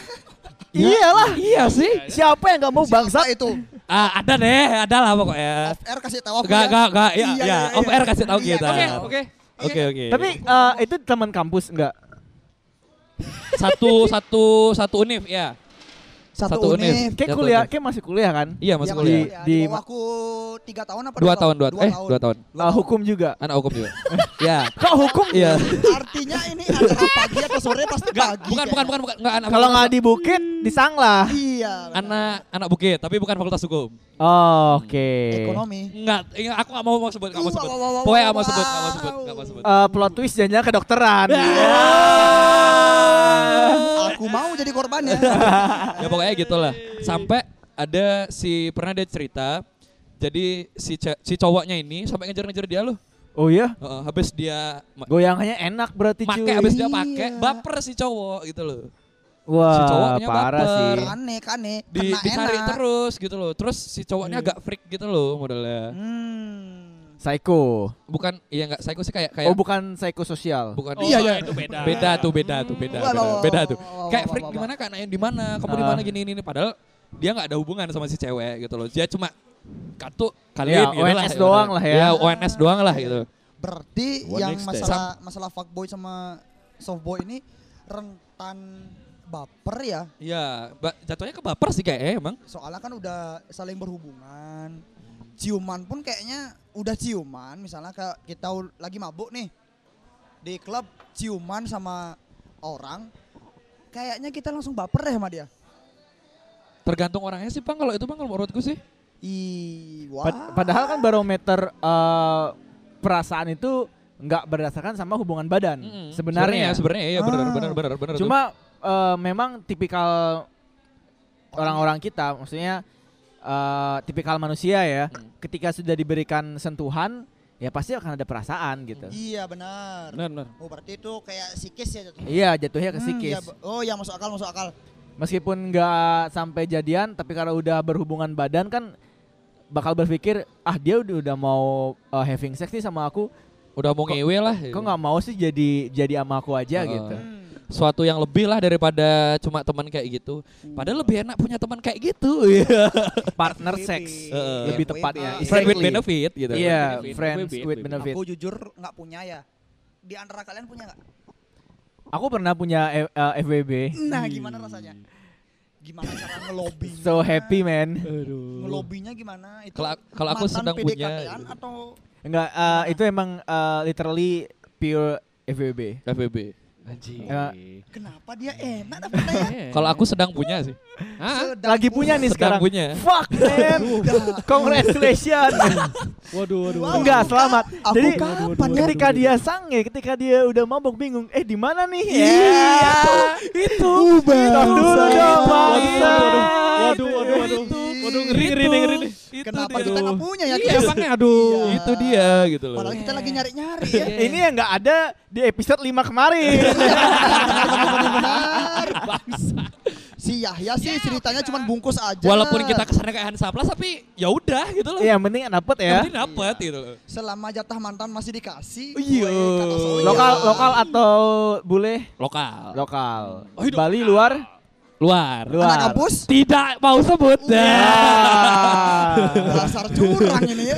Speaker 4: Ya,
Speaker 1: Iyalah.
Speaker 4: Iya sih.
Speaker 1: Siapa yang
Speaker 4: Oh,
Speaker 1: gak mau
Speaker 2: Siapa
Speaker 1: bangsat?
Speaker 2: itu?
Speaker 4: Ah, ada deh, ada lah pokoknya.
Speaker 2: Off air kasih tahu aku.
Speaker 4: Gak,
Speaker 2: ya.
Speaker 4: gak, gak, ya,
Speaker 2: Iya,
Speaker 4: ya,
Speaker 2: iya,
Speaker 4: off
Speaker 2: iya.
Speaker 4: air kasih tahu
Speaker 2: Iya,
Speaker 4: kita.
Speaker 2: oke,
Speaker 3: Oke.
Speaker 4: Oke oke.
Speaker 1: Tapi eh, itu teman kampus enggak?
Speaker 4: satu satu satu univ ya.
Speaker 2: Satu,
Speaker 4: Satu univ.
Speaker 2: univ.
Speaker 1: Kayak
Speaker 4: Jatuh,
Speaker 1: kuliah,
Speaker 4: jatuh.
Speaker 1: kayak masih kuliah kan?
Speaker 4: Iya masuk
Speaker 2: Iya,
Speaker 4: kuliah.
Speaker 1: Mas.
Speaker 2: Di,
Speaker 1: Di-
Speaker 2: bawah aku tiga tahun apa?
Speaker 4: Dua tahun dua eh dua tahun.
Speaker 1: Eh, hukum juga.
Speaker 4: Anak hukum juga. ya.
Speaker 1: Kok hukum?
Speaker 4: Iya.
Speaker 2: (laughs) Artinya ini acara pagi atau sore pasti
Speaker 4: Enggak,
Speaker 2: pagi. ya.
Speaker 4: bukan bukan
Speaker 2: kayaknya.
Speaker 4: bukan bukan enggak anak
Speaker 1: Kalau nggak di bukit, di Sanglah.
Speaker 2: Iya. benar.
Speaker 4: anak anak bukit tapi bukan fakultas hukum.
Speaker 1: Oh, Oke.
Speaker 2: ekonomi.
Speaker 4: Enggak, eh, aku enggak mau mau sebut, enggak mau
Speaker 2: Wah,
Speaker 4: sebut.
Speaker 2: wah, wah, wah,
Speaker 4: Pokoknya enggak mau
Speaker 2: wah.
Speaker 4: sebut, enggak mau sebut, enggak mau sebut.
Speaker 1: Eh, plot twist janjinya
Speaker 4: (laughs)
Speaker 1: kedokteran.
Speaker 4: Iya.
Speaker 2: Aku mau jadi korbannya.
Speaker 4: ya pokoknya gitulah sampai ada si pernah dia cerita jadi si ce- si cowoknya ini sampai ngejar-ngejar dia loh
Speaker 1: Oh iya,
Speaker 4: Heeh, habis dia ma-
Speaker 1: goyangannya enak berarti
Speaker 4: make
Speaker 1: cuy.
Speaker 4: habis dia pakai
Speaker 2: Iya.
Speaker 4: baper si cowok gitu loh
Speaker 1: Wah,
Speaker 4: si cowoknya
Speaker 1: parah
Speaker 4: baper.
Speaker 1: sih.
Speaker 2: Kane, kane.
Speaker 4: di
Speaker 2: Kena
Speaker 4: dicari
Speaker 2: enak. Iya.
Speaker 4: terus gitu loh terus si cowoknya agak freak gitu loh modelnya
Speaker 2: Hmm.
Speaker 1: Psycho.
Speaker 4: bukan iya nggak psycho sih
Speaker 1: Oh,
Speaker 4: kayak kayak
Speaker 1: bukan psycho sosial.
Speaker 4: bukan
Speaker 3: Oh,
Speaker 2: Iya, iya.
Speaker 3: itu beda.
Speaker 4: beda tuh beda tuh beda
Speaker 2: Wah,
Speaker 4: beda,
Speaker 2: wah, wah,
Speaker 4: beda
Speaker 2: wah,
Speaker 4: tuh
Speaker 2: wah, wah,
Speaker 4: kayak
Speaker 2: wah,
Speaker 4: freak
Speaker 2: wah,
Speaker 4: gimana kan yang di mana kamu di
Speaker 1: Ah.
Speaker 4: mana gini ini ini. padahal dia nggak ada hubungan sama si cewek gitu loh dia cuma katu kali gitu Iya,
Speaker 1: Ya, ONS doang lah ya.
Speaker 4: ONS doang lah gitu
Speaker 2: Berarti
Speaker 4: What
Speaker 2: yang
Speaker 4: next day?
Speaker 2: masalah masalah fuckboy sama softboy ini rentan baper ya.
Speaker 4: Iya, ba- jatuhnya ke baper sih kayaknya emang.
Speaker 2: Soalnya kan udah saling berhubungan. Ciuman pun kayaknya udah ciuman, misalnya kayak kita u- lagi mabuk nih di klub ciuman sama orang kayaknya kita langsung baper deh sama dia.
Speaker 4: Tergantung orangnya sih, Bang. Kalau itu Bang kalau menurutku sih.
Speaker 2: Ih, wah.
Speaker 1: Pad- padahal kan barometer eh, perasaan itu nggak berdasarkan sama hubungan badan Hmm.
Speaker 4: Mm-mm.
Speaker 1: sebenarnya.
Speaker 4: sebenarnya iya benar
Speaker 2: Ah.
Speaker 4: benar benar benar.
Speaker 1: Cuma eh, memang tipikal orang-orang kita, maksudnya eh, tipikal manusia ya,
Speaker 4: Hmm.
Speaker 1: ketika sudah diberikan sentuhan ya pasti akan ada perasaan gitu.
Speaker 2: Iya benar.
Speaker 4: benar benar.
Speaker 2: Oh berarti itu kayak sikis ya jatuhnya.
Speaker 1: Iya jatuhnya ke
Speaker 2: Hmm,
Speaker 1: psikis.
Speaker 2: iya, Bo- oh ya masuk akal masuk akal.
Speaker 1: Meskipun nggak sampai jadian, tapi kalau udah berhubungan badan kan bakal berpikir ah dia udah, udah mau eh, having sex nih sama aku,
Speaker 4: Udah mau
Speaker 1: Kok-
Speaker 4: ngewe lah.
Speaker 1: kok nggak mau sih jadi jadi sama aku aja
Speaker 4: Ah.
Speaker 1: gitu.
Speaker 2: Hmm.
Speaker 4: Suatu yang lebih lah daripada cuma teman kayak gitu. Padahal lebih enak punya teman kayak gitu. Iya.
Speaker 1: partner
Speaker 2: FWB.
Speaker 1: seks
Speaker 4: Heeh.
Speaker 1: lebih tepatnya.
Speaker 2: Friend
Speaker 4: Friend with
Speaker 1: Exactly.
Speaker 4: benefit gitu.
Speaker 1: Iya,
Speaker 3: Benefit,
Speaker 1: friends
Speaker 3: benefit,
Speaker 1: with
Speaker 3: benefit.
Speaker 1: benefit.
Speaker 2: Aku jujur nggak punya ya. Di antara kalian punya nggak?
Speaker 1: Aku pernah punya F- eh, FWB.
Speaker 4: Hmm.
Speaker 2: Nah gimana rasanya? Gimana
Speaker 4: (laughs)
Speaker 2: cara ngelobi?
Speaker 1: So happy man.
Speaker 4: Aduh.
Speaker 2: Ngelobinya gimana? Itu
Speaker 4: Kalau- kalau aku
Speaker 2: mantan
Speaker 4: sedang punya,
Speaker 2: PDKT-an
Speaker 4: gitu.
Speaker 2: atau
Speaker 1: Enggak eh, itu emang eh, literally pure FWB.
Speaker 4: FBB. Anjing.
Speaker 1: Eh,
Speaker 2: kenapa dia enak dapetnya ya?
Speaker 4: Ya. (laughs) Kalau aku sedang punya sih.
Speaker 3: Hah?
Speaker 2: Sedang
Speaker 1: lagi punya nih
Speaker 4: Sedang
Speaker 1: sekarang.
Speaker 4: Ah, punya.
Speaker 1: Fuck man. Congratulations.
Speaker 3: Waduh, waduh.
Speaker 2: Wow.
Speaker 1: Enggak, selamat.
Speaker 2: Aku
Speaker 1: Jadi
Speaker 2: kapan ya?
Speaker 1: ketika dia sange, ketika dia udah mabok bingung, eh di mana nih? Ya. Itu. Stop dulu dong,
Speaker 2: bangsat.
Speaker 4: Waduh, waduh.
Speaker 1: bangsat.
Speaker 3: Waduh, waduh, waduh. Waduh, ngeri, ngeri,
Speaker 4: Itu.
Speaker 3: ngeri, ngeri.
Speaker 4: Itu
Speaker 2: Kenapa
Speaker 4: dia.
Speaker 2: kita nggak punya ya?
Speaker 4: Iya,
Speaker 2: Kita-
Speaker 4: makanya aduh,
Speaker 2: Iya.
Speaker 4: itu dia gitu loh.
Speaker 2: Padahal kita lagi nyari-nyari ya.
Speaker 1: Iya.
Speaker 4: Iya.
Speaker 1: Ini yang nggak ada di episode 5 kemarin.
Speaker 2: (laughs) Benar. Si Yahya sih ceritanya cuma bungkus aja.
Speaker 4: Iya, Walaupun kita kesana kayak Hansa Plus tapi ya udah gitu loh.
Speaker 1: Iya, yang penting dapet
Speaker 4: Yang
Speaker 1: ya.
Speaker 4: penting dapet gitu loh.
Speaker 2: selama jatah mantan masih
Speaker 3: Oh,
Speaker 2: dikasih.
Speaker 4: Iya.
Speaker 2: weh, kata Iya. saya.
Speaker 1: Lokal lokal atau bule?
Speaker 4: Lokal.
Speaker 1: Lokal.
Speaker 4: Oh, Ah. hidup.
Speaker 1: Bali luar?
Speaker 4: Luar. Iya.
Speaker 1: Luar. Ya.
Speaker 2: Anak kampus
Speaker 4: Tidak mau sebut. (laughs)
Speaker 1: Ah.
Speaker 2: dasar curang ini ya.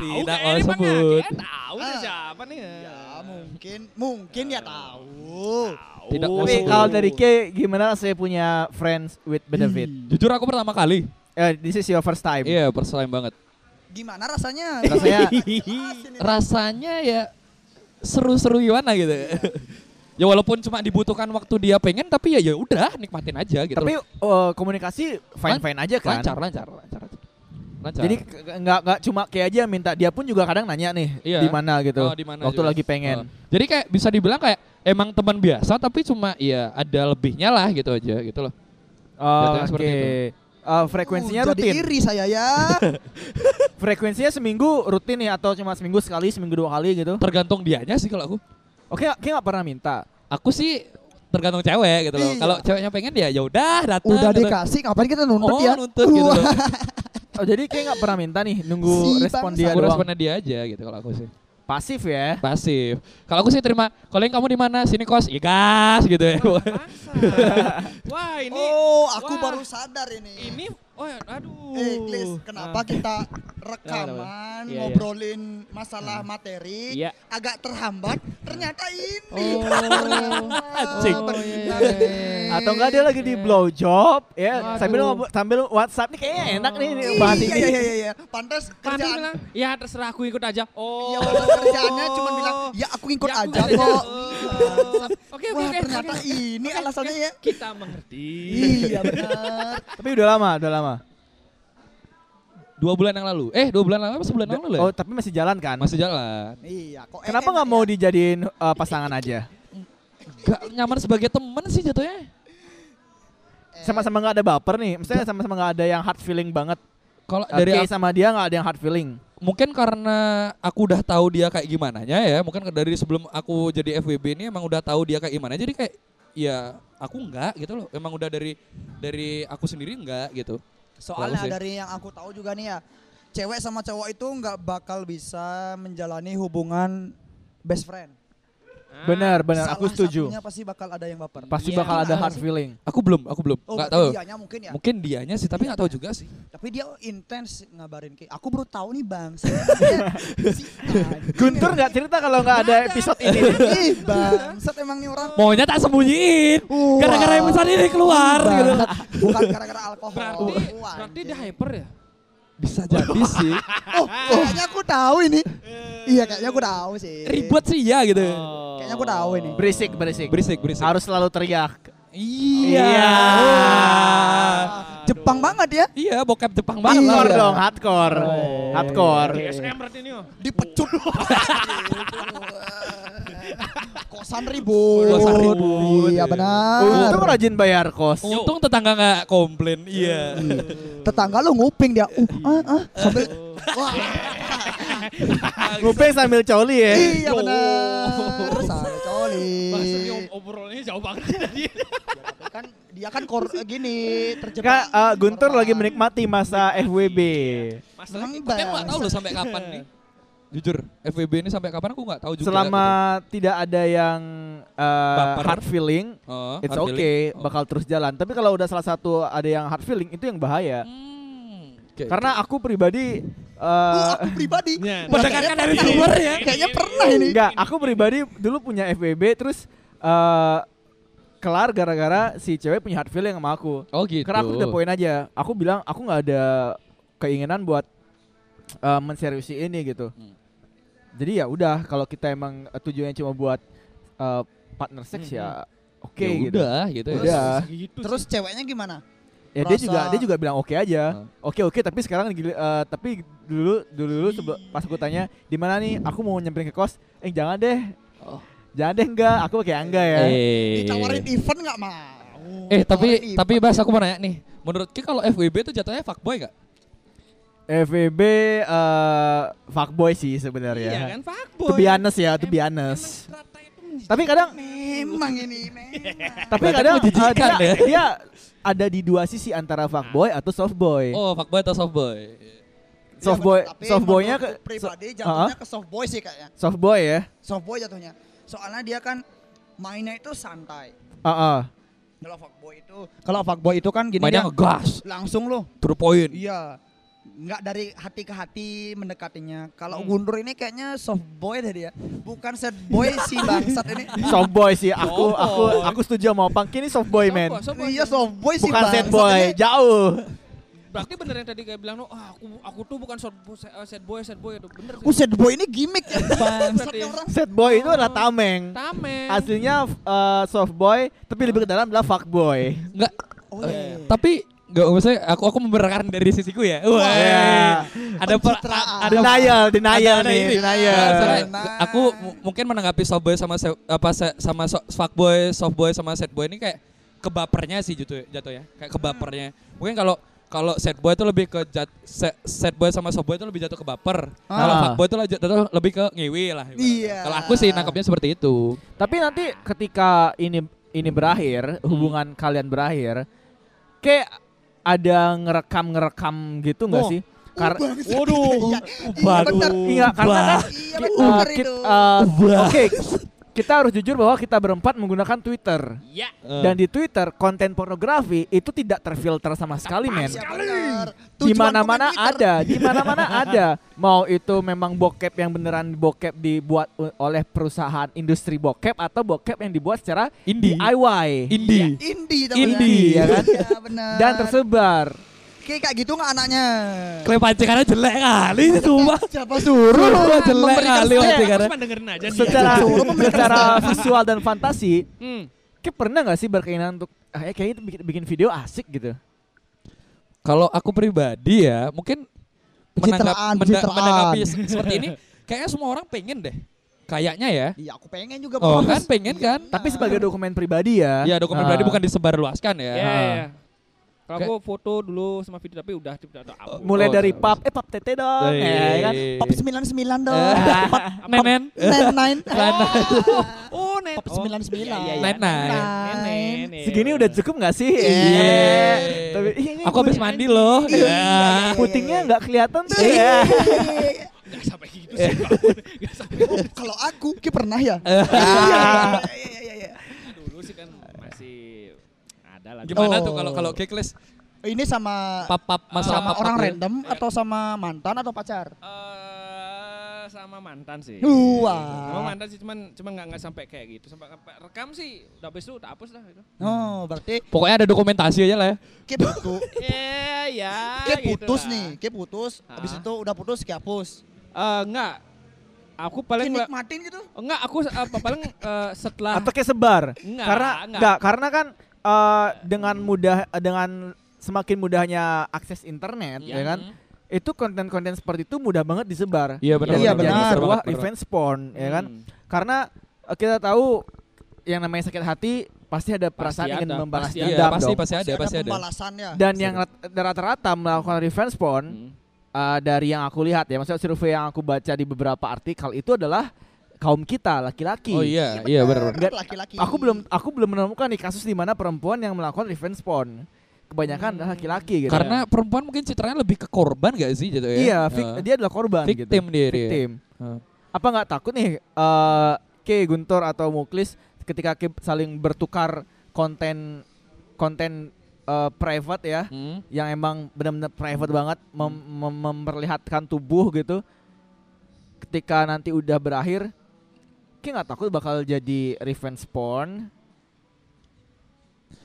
Speaker 4: Tidak mau sebut.
Speaker 3: Tahu
Speaker 2: Ah.
Speaker 3: nih siapa nih?
Speaker 2: ya mungkin mungkin ya tahu.
Speaker 4: Tidak mau
Speaker 1: Tapi
Speaker 4: sebut.
Speaker 1: kalau dari K gimana saya punya friends with benefit?
Speaker 4: Jujur aku pertama kali.
Speaker 1: Eh, this is your first time.
Speaker 4: Iya, first time banget.
Speaker 2: Gimana rasanya? (laughs)
Speaker 1: Rasanya-
Speaker 2: Jelasin ini.
Speaker 4: Rasanya ya seru-seru gimana gitu. (laughs) ya walaupun cuma dibutuhkan waktu dia pengen tapi ya ya udah nikmatin aja gitu.
Speaker 1: Tapi eh, komunikasi fine-fine aja kan?
Speaker 4: lancar, lancar, lancar, lancar. Lancar.
Speaker 1: Jadi gitu, ke- ke- nggak nggak cuma kayak aja yang minta dia pun juga kadang nanya nih
Speaker 4: Iya.
Speaker 1: di mana gitu.
Speaker 4: Oh, di mana
Speaker 1: waktu
Speaker 4: juga.
Speaker 1: lagi pengen.
Speaker 4: Oh. Jadi kayak bisa dibilang kayak emang teman biasa tapi cuma ya ada lebihnya lah gitu aja gitu loh.
Speaker 1: Oh,
Speaker 4: Jatuhnya
Speaker 1: Oke.
Speaker 4: seperti itu.
Speaker 1: Eh, frekuensinya
Speaker 2: Uh,
Speaker 1: rutin.
Speaker 2: Jadi iri saya ya.
Speaker 1: Frekuensinya seminggu rutin nih atau cuma seminggu sekali, seminggu dua kali gitu.
Speaker 4: Tergantung dianya sih kalau aku.
Speaker 1: Oke, kayak nggak pernah minta.
Speaker 4: Aku sih tergantung cewek gitu loh.
Speaker 2: Iya.
Speaker 4: Kalau ceweknya pengen ya ya udah datang.
Speaker 2: Udah
Speaker 4: gitu.
Speaker 2: dikasih ngapain kita nuntut
Speaker 4: Oh,
Speaker 2: ya?
Speaker 4: nuntut gitu
Speaker 2: Wah,
Speaker 4: loh.
Speaker 1: Oh, jadi kayak nggak pernah minta nih, nunggu
Speaker 2: Si
Speaker 1: respon
Speaker 2: bangsa.
Speaker 1: dia
Speaker 4: Aku
Speaker 1: doang.
Speaker 4: responnya dia aja gitu kalau aku sih.
Speaker 1: Pasif ya.
Speaker 4: Pasif. Kalau aku sih terima, kalau yang kamu di mana? Sini kos. Ya gas gitu ya.
Speaker 3: Wah, ini
Speaker 2: Oh, aku
Speaker 3: Wah.
Speaker 2: baru sadar ini.
Speaker 3: ini Oh, ya, aduh.
Speaker 2: Eh, Glis, kenapa
Speaker 3: Ah,
Speaker 2: kita
Speaker 3: Kenapa,
Speaker 2: rekaman
Speaker 3: kenapa? Iya,
Speaker 2: ngobrolin masalah materi
Speaker 3: Iya.
Speaker 2: agak terhambat? Ternyata ini.
Speaker 3: Oh.
Speaker 4: Anjing.
Speaker 3: Oh, iya, iya, iya.
Speaker 1: Atau enggak dia lagi di blow job ya
Speaker 3: Waduh.
Speaker 1: sambil ngobrol- sambil WhatsApp nih kayaknya enak nih nih bahas
Speaker 2: Iya,
Speaker 1: ini.
Speaker 2: iya, iya, iya, iya. Pantas
Speaker 3: Kami
Speaker 2: kerjaan
Speaker 3: bilang, ya terserah aku ikut aja. Oh.
Speaker 2: Iya, pantas kerjaannya cuma bilang, "Ya aku ikut
Speaker 3: Ya, aku
Speaker 2: aja
Speaker 3: ikut
Speaker 2: kok."
Speaker 3: Oh. Oke, oke,
Speaker 2: Wah,
Speaker 3: oke.
Speaker 2: ternyata
Speaker 3: oke.
Speaker 2: ini
Speaker 3: Oke,
Speaker 2: alasannya
Speaker 3: oke.
Speaker 2: ya.
Speaker 3: Kita mengerti.
Speaker 2: Iya, benar.
Speaker 1: Tapi udah lama, udah lama.
Speaker 4: Dua bulan yang lalu. Eh, dua bulan yang lalu, apa sebulan yang lalu ya?
Speaker 1: Oh, tapi masih jalan kan?
Speaker 4: Masih jalan.
Speaker 2: Iya, kok
Speaker 1: Kenapa
Speaker 2: enak
Speaker 1: nggak mau
Speaker 2: ya?
Speaker 1: dijadiin uh, pasangan aja?
Speaker 4: Gak nyaman sebagai teman sih jatuhnya.
Speaker 2: ya?
Speaker 1: Sama-sama nggak ada baper nih. Maksudnya sama-sama nggak ada yang hard feeling banget.
Speaker 4: Kalau
Speaker 1: Dari
Speaker 4: dari aku-
Speaker 1: sama dia nggak ada yang hard feeling.
Speaker 4: mungkin karena aku udah tahu dia kayak gimana ya mungkin dari sebelum aku jadi FWB ini emang udah tahu dia kayak gimana jadi kayak ya aku enggak gitu loh emang udah dari dari aku sendiri enggak gitu Bagus
Speaker 2: Soalnya
Speaker 4: ya.
Speaker 2: dari yang aku tahu juga nih ya, cewek sama cowok itu nggak bakal bisa menjalani hubungan best friend.
Speaker 3: Ah,
Speaker 1: Benar, benar.
Speaker 2: Salah
Speaker 1: Aku setuju.
Speaker 2: satunya pasti bakal ada yang baper.
Speaker 1: Pasti
Speaker 3: Iya.
Speaker 1: bakal ada hard feeling.
Speaker 4: aku belum aku belum
Speaker 2: Oh,
Speaker 4: enggak
Speaker 2: berarti
Speaker 4: tahu
Speaker 2: dianya mungkin ya.
Speaker 4: mungkin dianya sih tapi enggak tahu juga sih
Speaker 2: Tapi dia intens ngabarin ke. Aku baru tahu nih bang. (laughs) si anjing
Speaker 1: Guntur nggak cerita kalau nggak ada episode ini.
Speaker 2: emang- Ih bangsat emang nih orang.
Speaker 4: maunya tak sembunyiin
Speaker 2: Wah.
Speaker 4: gara-gara episode ini keluar gitu
Speaker 2: Bangsat. Bukan gara-gara alkohol.
Speaker 3: Berarti,
Speaker 2: Wah,
Speaker 3: berarti
Speaker 2: Oh, anjing.
Speaker 3: dia hyper ya?
Speaker 4: bisa jadi
Speaker 1: (laughs)
Speaker 4: sih
Speaker 2: Oh, kayaknya aku tahu ini. Iya, kayaknya aku tahu sih.
Speaker 4: ribet sih ya gitu
Speaker 2: Kayaknya aku tahu ini.
Speaker 1: Berisik, berisik.
Speaker 4: berisik berisik
Speaker 1: Oh. Harus selalu teriak.
Speaker 4: iya
Speaker 2: Ah, Jepang banget ya.
Speaker 4: iya bokap Jepang banget lah
Speaker 1: Hardcore
Speaker 4: udah.
Speaker 1: dong, hardcore. Hardcore.
Speaker 3: DSM berarti ini. oh.
Speaker 4: (laughs)
Speaker 2: Dipecut. Kosan ribut.
Speaker 4: Kosan ribut.
Speaker 2: Iya benar.
Speaker 1: Untung rajin bayar kos.
Speaker 4: untung tetangga nggak komplain iya
Speaker 2: Tetangga lu nguping dia. Uh, ah, ah, sambil Wah,
Speaker 1: Nguping sambil coli ya.
Speaker 2: iya benar. Sambil coli.
Speaker 3: Maksudnya ob- obrolannya jauh banget (laughs) tadi.
Speaker 2: Kan dia kan kor gini
Speaker 1: Kak,
Speaker 2: terjebak.
Speaker 1: eh, Guntur lagi menikmati masa FWB.
Speaker 4: Iya.
Speaker 3: Masalah
Speaker 2: Memang
Speaker 3: kita
Speaker 2: baik.
Speaker 4: Kan gak tahu loh sampai kapan nih. Jujur, FWB ini sampai kapan aku nggak tahu juga.
Speaker 1: Selama tidak ada yang eh,
Speaker 4: Baper.
Speaker 1: hard feeling,
Speaker 4: gitu. Oh,
Speaker 1: it's okay,
Speaker 4: hard feeling. Oh.
Speaker 1: bakal terus jalan. Tapi kalau udah salah satu ada yang hard feeling, itu yang bahaya.
Speaker 4: Hmm, oke,
Speaker 1: Karena aku pribadi
Speaker 2: Uh,
Speaker 1: eh,
Speaker 2: aku pribadi.
Speaker 3: Iya.
Speaker 4: Mendengarkan dari
Speaker 2: Kayaknya
Speaker 4: luar
Speaker 2: pernah.
Speaker 4: ya.
Speaker 2: Kayaknya
Speaker 1: (laughs)
Speaker 2: pernah ini.
Speaker 1: Enggak, aku pribadi dulu punya FBB terus eh, kelar gara-gara si cewek punya hard feeling sama aku.
Speaker 4: oke. Oh gitu.
Speaker 1: Karena aku udah poin aja. Aku bilang aku nggak ada keinginan buat eh, menseriusi ini gitu.
Speaker 4: Hmm.
Speaker 1: Jadi ya udah kalau kita emang eh, tujuannya cuma buat eh, partner seks
Speaker 3: Hmm,
Speaker 1: ya oke
Speaker 4: Ya
Speaker 1: gitu.
Speaker 4: udah gitu. ya.
Speaker 1: Udah.
Speaker 3: Gitu
Speaker 2: Terus ceweknya gimana?
Speaker 1: Ya dia
Speaker 2: Rasa-
Speaker 1: juga dia juga bilang oke aja.
Speaker 4: Hmm.
Speaker 1: Oke oke tapi sekarang gili- eh, tapi dulu dulu dulu sebelum pas aku tanya di mana nih aku mau nyamperin ke kos. Eh jangan deh.
Speaker 4: Oh.
Speaker 1: Jangan deh enggak, aku pakai angga ya.
Speaker 4: Eh.
Speaker 2: Ditawarin event nggak mau.
Speaker 4: Eh, tapi
Speaker 2: Ditawarin
Speaker 4: tapi Bas aku mau nanya nih. Menurut Ki kalau FWB itu jatuhnya fuckboy gak?
Speaker 1: FVB E eh fuckboy sih sebenarnya.
Speaker 3: Iya kan, fuckboy.
Speaker 1: ya. To be honest ya, to be
Speaker 3: Em-
Speaker 1: honest.
Speaker 3: emang strata itu menjijikan.
Speaker 1: Tapi kadang
Speaker 2: Memang ini memang.
Speaker 1: tapi
Speaker 4: Berarti
Speaker 1: kadang
Speaker 4: menjijikan
Speaker 1: eh, dia,
Speaker 4: ya.
Speaker 1: dia ada di dua sisi antara fuckboy atau softboy.
Speaker 4: Oh, iya, fuckboy atau softboy?
Speaker 1: Softboy,
Speaker 2: Iya, Tapi
Speaker 1: softboynya ke
Speaker 2: menurutku pribadi
Speaker 1: so-
Speaker 2: jatuhnya
Speaker 1: Ah,
Speaker 2: ke soft boy sih kayaknya.
Speaker 1: softboy ya.
Speaker 2: Soft boy jatuhnya. Soalnya dia kan mainnya itu santai.
Speaker 1: Ah, ah.
Speaker 2: Kalau fuckboy itu kalau fuckboy itu kan gini
Speaker 4: Mainnya
Speaker 2: dia
Speaker 4: ngegas,
Speaker 2: langsung loh.
Speaker 4: to the point.
Speaker 2: Iya. Nggak dari hati ke hati mendekatinya. Kalau
Speaker 3: Hmm.
Speaker 2: Guntur ini kayaknya soft boy tadi ya. Bukan set boy si bangsat ini.
Speaker 1: Softboy sih aku aku
Speaker 3: Softboy.
Speaker 1: aku setuju sama Opang. Ini softboy
Speaker 3: Sopo,
Speaker 1: man.
Speaker 3: sopo.
Speaker 2: Iya soft boy si
Speaker 1: Bukan sad
Speaker 2: bangsat
Speaker 1: boy,
Speaker 2: ini.
Speaker 1: jauh.
Speaker 3: Berarti bener yang tadi kayak bilang, oh, ah, aku aku tuh bukan sad boy, eh, sad boy, sad boy itu bener.
Speaker 2: Uh, sad boy ini gimmick ya bangsat
Speaker 3: Berarti.
Speaker 2: ya orang.
Speaker 1: Sad boy itu adalah tameng.
Speaker 3: Tamen.
Speaker 1: Aslinya eh, softboy, tapi lebih ke dalam adalah fuckboy.
Speaker 4: Enggak.
Speaker 2: Oh,
Speaker 4: eh,
Speaker 2: iya.
Speaker 4: Tapi enggak maksudnya aku aku membenarkan dari sisiku ya. Wah.
Speaker 1: Iya.
Speaker 4: Ada per,
Speaker 2: Pencitraan.
Speaker 4: ada
Speaker 1: Denial, denial
Speaker 4: ada
Speaker 1: nih,
Speaker 4: ini.
Speaker 1: denial.
Speaker 4: Nah, soalnya
Speaker 2: Nah.
Speaker 4: aku mu- mungkin menanggapi softboy sama se- apa se- sama so, fuckboy, softboy sama sad boy ini kayak kebapernya sih jatuh jatuhnya. Kayak kebapernya. Mungkin kalau kalau sad boy itu lebih ke jat, se- sad boy sama softboy itu lebih jatuh ke baper.
Speaker 2: Ah.
Speaker 4: Kalau fuckboy itu jatuh- jatuh lebih ke ngewe lah. ibaratnya.
Speaker 2: Iya.
Speaker 4: Kalau aku sih nangkapnya seperti itu.
Speaker 1: Tapi nanti ketika ini ini berakhir,
Speaker 2: Hmm.
Speaker 1: hubungan kalian berakhir, kayak ada ngerekam-ngerekam gitu nggak
Speaker 4: Oh.
Speaker 1: sih? Karena
Speaker 4: Waduh.
Speaker 2: Iya, iya, bener.
Speaker 1: Iya, karena kan
Speaker 2: Iya
Speaker 1: ki-
Speaker 2: benar
Speaker 1: uh, kit-
Speaker 2: itu.
Speaker 1: uh, Oke, kita harus jujur bahwa kita berempat menggunakan Twitter.
Speaker 2: Iya.
Speaker 3: Ya.
Speaker 1: Dan di Twitter konten pornografi itu tidak terfilter sama sekali, men.
Speaker 2: Iya, bener.
Speaker 1: Di
Speaker 2: Tujuan
Speaker 1: mana-mana
Speaker 2: komen Twitter.
Speaker 1: ada, di
Speaker 2: (laughs)
Speaker 1: mana-mana ada. Mau itu memang bokep yang beneran bokep dibuat u- oleh perusahaan industri bokep atau bokep yang dibuat secara
Speaker 4: Indie.
Speaker 1: DIY
Speaker 3: Iya,
Speaker 4: Indie.
Speaker 2: Indie tapi
Speaker 1: Indie, ya kan?
Speaker 2: Iya benar.
Speaker 1: dan tersebar.
Speaker 2: Kayak kayak gitu nggak anaknya?
Speaker 4: Klaim pancingannya jelek kali ini sumpah.
Speaker 2: Siapa suruh?
Speaker 4: Sumpah jelek
Speaker 1: memberikan
Speaker 4: kali
Speaker 1: saya-
Speaker 4: pancingannya.
Speaker 3: Cuma dengerin aja dia.
Speaker 1: Secara
Speaker 2: Suruh
Speaker 1: (laughs)
Speaker 2: pemerintah.
Speaker 1: secara visual dan fantasi,
Speaker 3: Hmm.
Speaker 1: kayak pernah nggak sih berkeinginan untuk ah, ya kayaknya bikin, bikin video asik gitu.
Speaker 4: Kalau aku pribadi ya, mungkin menanggap,
Speaker 2: Pencitraan,
Speaker 4: menda-
Speaker 2: pencitraan.
Speaker 4: menanggapi se- seperti ini, kayaknya semua orang pengen deh. Kayaknya ya.
Speaker 2: Iya aku pengen juga.
Speaker 4: Oh
Speaker 2: Bos. Iya.
Speaker 4: kan pengen kan?
Speaker 1: Tapi sebagai dokumen pribadi ya.
Speaker 4: Ya dokumen
Speaker 1: Ah.
Speaker 4: pribadi bukan disebarluaskan ya.
Speaker 3: Ya, ya, ya. Kalau aku foto dulu sama video tapi udah tidak ada upload.
Speaker 1: mulai
Speaker 4: Oh,
Speaker 1: dari
Speaker 4: terus.
Speaker 1: pap eh pap tete dong
Speaker 4: Eh,
Speaker 1: ya kan
Speaker 2: Pop 99 dong.
Speaker 4: Eh.
Speaker 2: Pop
Speaker 4: Nenen.
Speaker 2: nine nine.
Speaker 3: Oh, net. Oh, iya,
Speaker 2: Pop 99.
Speaker 4: Net nine.
Speaker 1: segini udah cukup nggak sih
Speaker 4: Iya.
Speaker 1: tapi iya, iya,
Speaker 4: Aku habis
Speaker 1: gue-
Speaker 4: mandi loh. Ya.
Speaker 1: (laughs) putingnya nggak kelihatan
Speaker 2: Ah.
Speaker 1: tuh (laughs)
Speaker 2: Iya.
Speaker 1: ya
Speaker 4: Iya.
Speaker 2: Eh.
Speaker 3: Gak sampai gitu sih. Gak sampai gitu.
Speaker 2: Oh, kalau aku, ki pernah ya.
Speaker 4: Eh. Iya. Ah.
Speaker 2: Iya, iya, iya, iya.
Speaker 3: dulu sih kan masih ada lah.
Speaker 4: Gimana tuh
Speaker 2: Oh.
Speaker 4: kalau kalau Gekles
Speaker 2: iya. Ini sama
Speaker 4: pap-pap masalah
Speaker 2: sama
Speaker 4: pap-pap
Speaker 2: orang
Speaker 4: gitu?
Speaker 2: random atau sama mantan atau pacar?
Speaker 3: Eh, sama mantan sih.
Speaker 2: Wah.
Speaker 3: Sama mantan sih cuman cuman nggak nggak sampai kayak gitu. Sampai, sampai rekam sih udah habis itu udah hapus lah gitu.
Speaker 2: Oh, berarti
Speaker 4: Pokoknya ada dokumentasi aja lah ya.
Speaker 2: ki putus,
Speaker 3: Eh ya.
Speaker 2: ki
Speaker 3: gitu
Speaker 2: putus
Speaker 3: lah.
Speaker 2: nih, ki putus.
Speaker 3: Ah.
Speaker 2: Habis itu udah putus, ki hapus.
Speaker 3: Eh, enggak.
Speaker 2: Ki
Speaker 3: Aku paling nggak-
Speaker 2: nikmatin gitu.
Speaker 3: enggak aku apa paling eh, setelah
Speaker 1: atau kayak sebar
Speaker 3: Nggak,
Speaker 1: karena
Speaker 3: nggak.
Speaker 1: nggak karena kan eh, dengan mudah dengan semakin mudahnya akses internet
Speaker 3: Iya.
Speaker 4: Iya.
Speaker 1: ya kan
Speaker 3: Hmm.
Speaker 1: itu konten-konten seperti itu mudah banget disebar ya
Speaker 4: Iya, benar,
Speaker 1: Dan
Speaker 2: Iya,
Speaker 1: menjadi
Speaker 2: benar.
Speaker 1: sebuah
Speaker 4: Benar.
Speaker 1: revenge porn ya kan
Speaker 3: Hmm.
Speaker 1: karena eh, kita tahu yang namanya sakit hati pasti ada perasaan
Speaker 3: ada,
Speaker 1: ingin membalas
Speaker 3: pasti ada,
Speaker 1: dendam
Speaker 4: Iya, pasti
Speaker 1: dong.
Speaker 4: pasti ada pasti ada.
Speaker 2: pembalasannya.
Speaker 1: dan yang rat- rata-rata melakukan revenge porn
Speaker 3: Hmm.
Speaker 1: eh, dari yang aku lihat ya maksudnya survei yang aku baca di beberapa artikel itu adalah kaum kita laki-laki
Speaker 4: Oh iya, iya benar. benar.
Speaker 1: Nggak,
Speaker 2: laki-laki.
Speaker 1: aku belum aku belum menemukan nih kasus di mana perempuan yang melakukan revenge porn kebanyakan adalah laki-laki gitu
Speaker 4: Karena perempuan mungkin citranya lebih ke korban gak sih gitu ya?
Speaker 1: iya fik-
Speaker 4: Heeh.
Speaker 1: dia adalah korban gitu.
Speaker 4: Victim dia, dia.
Speaker 1: Victim.
Speaker 4: Heeh.
Speaker 1: apa nggak takut nih eh Ki Guntur atau Muklis ketika Ki saling bertukar konten konten eh, private ya
Speaker 4: Hmm.
Speaker 1: yang emang benar-benar private banget mem- mem- memperlihatkan tubuh gitu ketika nanti udah berakhir kayak nggak takut bakal jadi revenge porn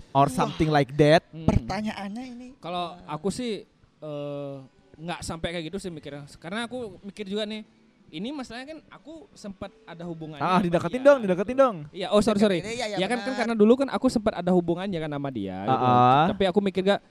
Speaker 1: or something like that
Speaker 3: Hmm.
Speaker 2: pertanyaannya ini.
Speaker 3: Kalau aku sih eh, nggak sampai kayak gitu sih mikirnya. Karena aku mikir juga nih, ini masalahnya kan aku sempat ada hubungannya.
Speaker 1: ah
Speaker 3: sama
Speaker 1: dideketin
Speaker 3: dia,
Speaker 1: dong
Speaker 3: gitu.
Speaker 1: dideketin dong
Speaker 3: Iya, oh sorry sorry.
Speaker 2: Iya, iya,
Speaker 3: ya kan kan
Speaker 2: benar.
Speaker 3: karena dulu kan aku sempat ada hubungannya kan sama dia. gitu.
Speaker 1: Ah, ah.
Speaker 3: Tapi aku mikir gak,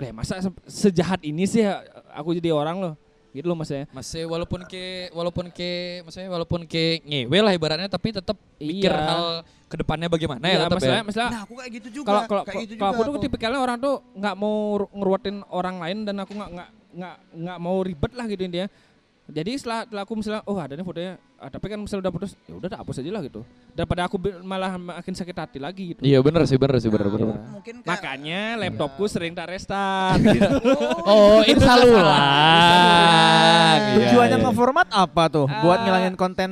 Speaker 3: kayak masa se- sejahat ini sih ya aku jadi orang loh. Gitu loh maksudnya.
Speaker 4: Masih walaupun ke walaupun ke maksudnya walaupun ke ngewe lah ibaratnya tapi tetap mikir
Speaker 3: Iya.
Speaker 4: hal kedepannya bagaimana
Speaker 3: Iya,
Speaker 4: ya tetap ya.
Speaker 3: masalahnya, masalah
Speaker 2: Nah, aku kayak gitu juga.
Speaker 3: kalau kalau
Speaker 2: kayak gitu
Speaker 3: kalau aku
Speaker 2: juga
Speaker 3: tuh tipikalnya orang tuh nggak mau ru- ngeruatin orang lain dan aku nggak nggak nggak nggak mau ribet lah gitu intinya jadi setelah, setelah aku misalnya oh ada nih fotonya ah, tapi kan misalnya udah putus ya udah dah, hapus aja lah gitu daripada aku bi- malah makin sakit hati lagi gitu
Speaker 4: Iya benar sih benar sih benar
Speaker 2: Nah,
Speaker 4: benar.
Speaker 3: Iya.
Speaker 2: Mungkin kayak-
Speaker 3: makanya laptopku sering tak restart gitu.
Speaker 4: Oh, ini
Speaker 3: saluran.
Speaker 4: saluran.
Speaker 1: tujuannya ngeformat apa tuh buat
Speaker 3: ya. Ah.
Speaker 1: ngilangin konten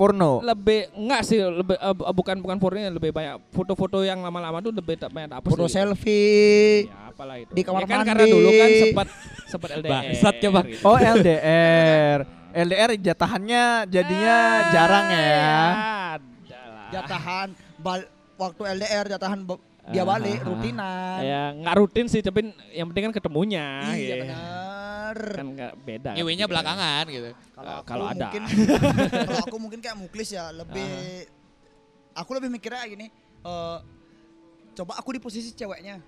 Speaker 1: porno
Speaker 3: (laughs) lebih enggak sih lebih eh, bu- bukan bukan fotonya lebih banyak foto-foto yang lama-lama tuh lebih tak banyak tak hapus
Speaker 2: foto
Speaker 3: gitu.
Speaker 2: selfie.
Speaker 3: ya apalah itu
Speaker 2: di kamar
Speaker 3: ya kan
Speaker 2: mandi.
Speaker 3: karena dulu kan sempat sempat LDR
Speaker 4: Bangsat ya, Bang.
Speaker 3: gitu.
Speaker 1: oh LDR LDR jatahannya jadinya
Speaker 2: Ah.
Speaker 1: jarang
Speaker 2: Iya.
Speaker 1: ya
Speaker 3: Adalah.
Speaker 2: Jatahan bal- waktu LDR jatahan ba- dia
Speaker 3: Ah,
Speaker 2: balik
Speaker 3: ah, ah.
Speaker 2: rutinan.
Speaker 3: Ya nggak rutin sih, tapi yang penting kan ketemunya.
Speaker 2: Iya
Speaker 3: gitu.
Speaker 2: benar.
Speaker 3: Kan nggak beda.
Speaker 4: Ngewenya
Speaker 3: Gitu.
Speaker 4: belakangan gitu.
Speaker 3: Eh,
Speaker 2: aku
Speaker 3: kalau ada.
Speaker 2: Oh,
Speaker 4: (laughs)
Speaker 2: mungkin- kalau aku mungkin kayak muklis ya, lebih aku lebih mikirnya kayak gini, eh, coba aku di posisi ceweknya.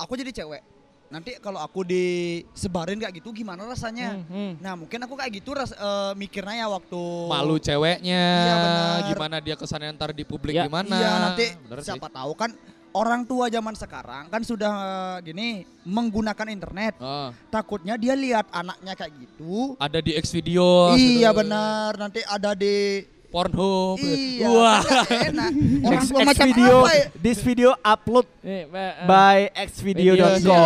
Speaker 2: Aku jadi cewek. Nanti kalau aku disebarin kayak gitu gimana rasanya?
Speaker 4: Mhm.
Speaker 3: Hmm, hmm.
Speaker 2: Nah, mungkin aku kayak gitu ras, eh, mikirnya ya waktu
Speaker 4: Malu ceweknya,
Speaker 2: Iya, benar.
Speaker 4: gimana dia kesannya ntar di publik
Speaker 3: Iya.
Speaker 4: gimana.
Speaker 2: Iya nanti
Speaker 4: Bener sih.
Speaker 2: siapa tahu kan orang tua zaman sekarang kan sudah eh, gini menggunakan internet.
Speaker 4: Oh,
Speaker 2: Takutnya dia lihat anaknya kayak gitu.
Speaker 4: ada di X video.
Speaker 2: iya benar nanti ada di
Speaker 4: Pornhub.
Speaker 2: iya
Speaker 4: Wah.
Speaker 2: kan nggak enak. Orang
Speaker 1: X,
Speaker 2: tua
Speaker 1: X
Speaker 2: macam
Speaker 1: video
Speaker 2: apa ya?
Speaker 1: this video upload
Speaker 3: Nih, eh, eh.
Speaker 1: by
Speaker 3: Video,
Speaker 1: xvideo.com
Speaker 3: iya.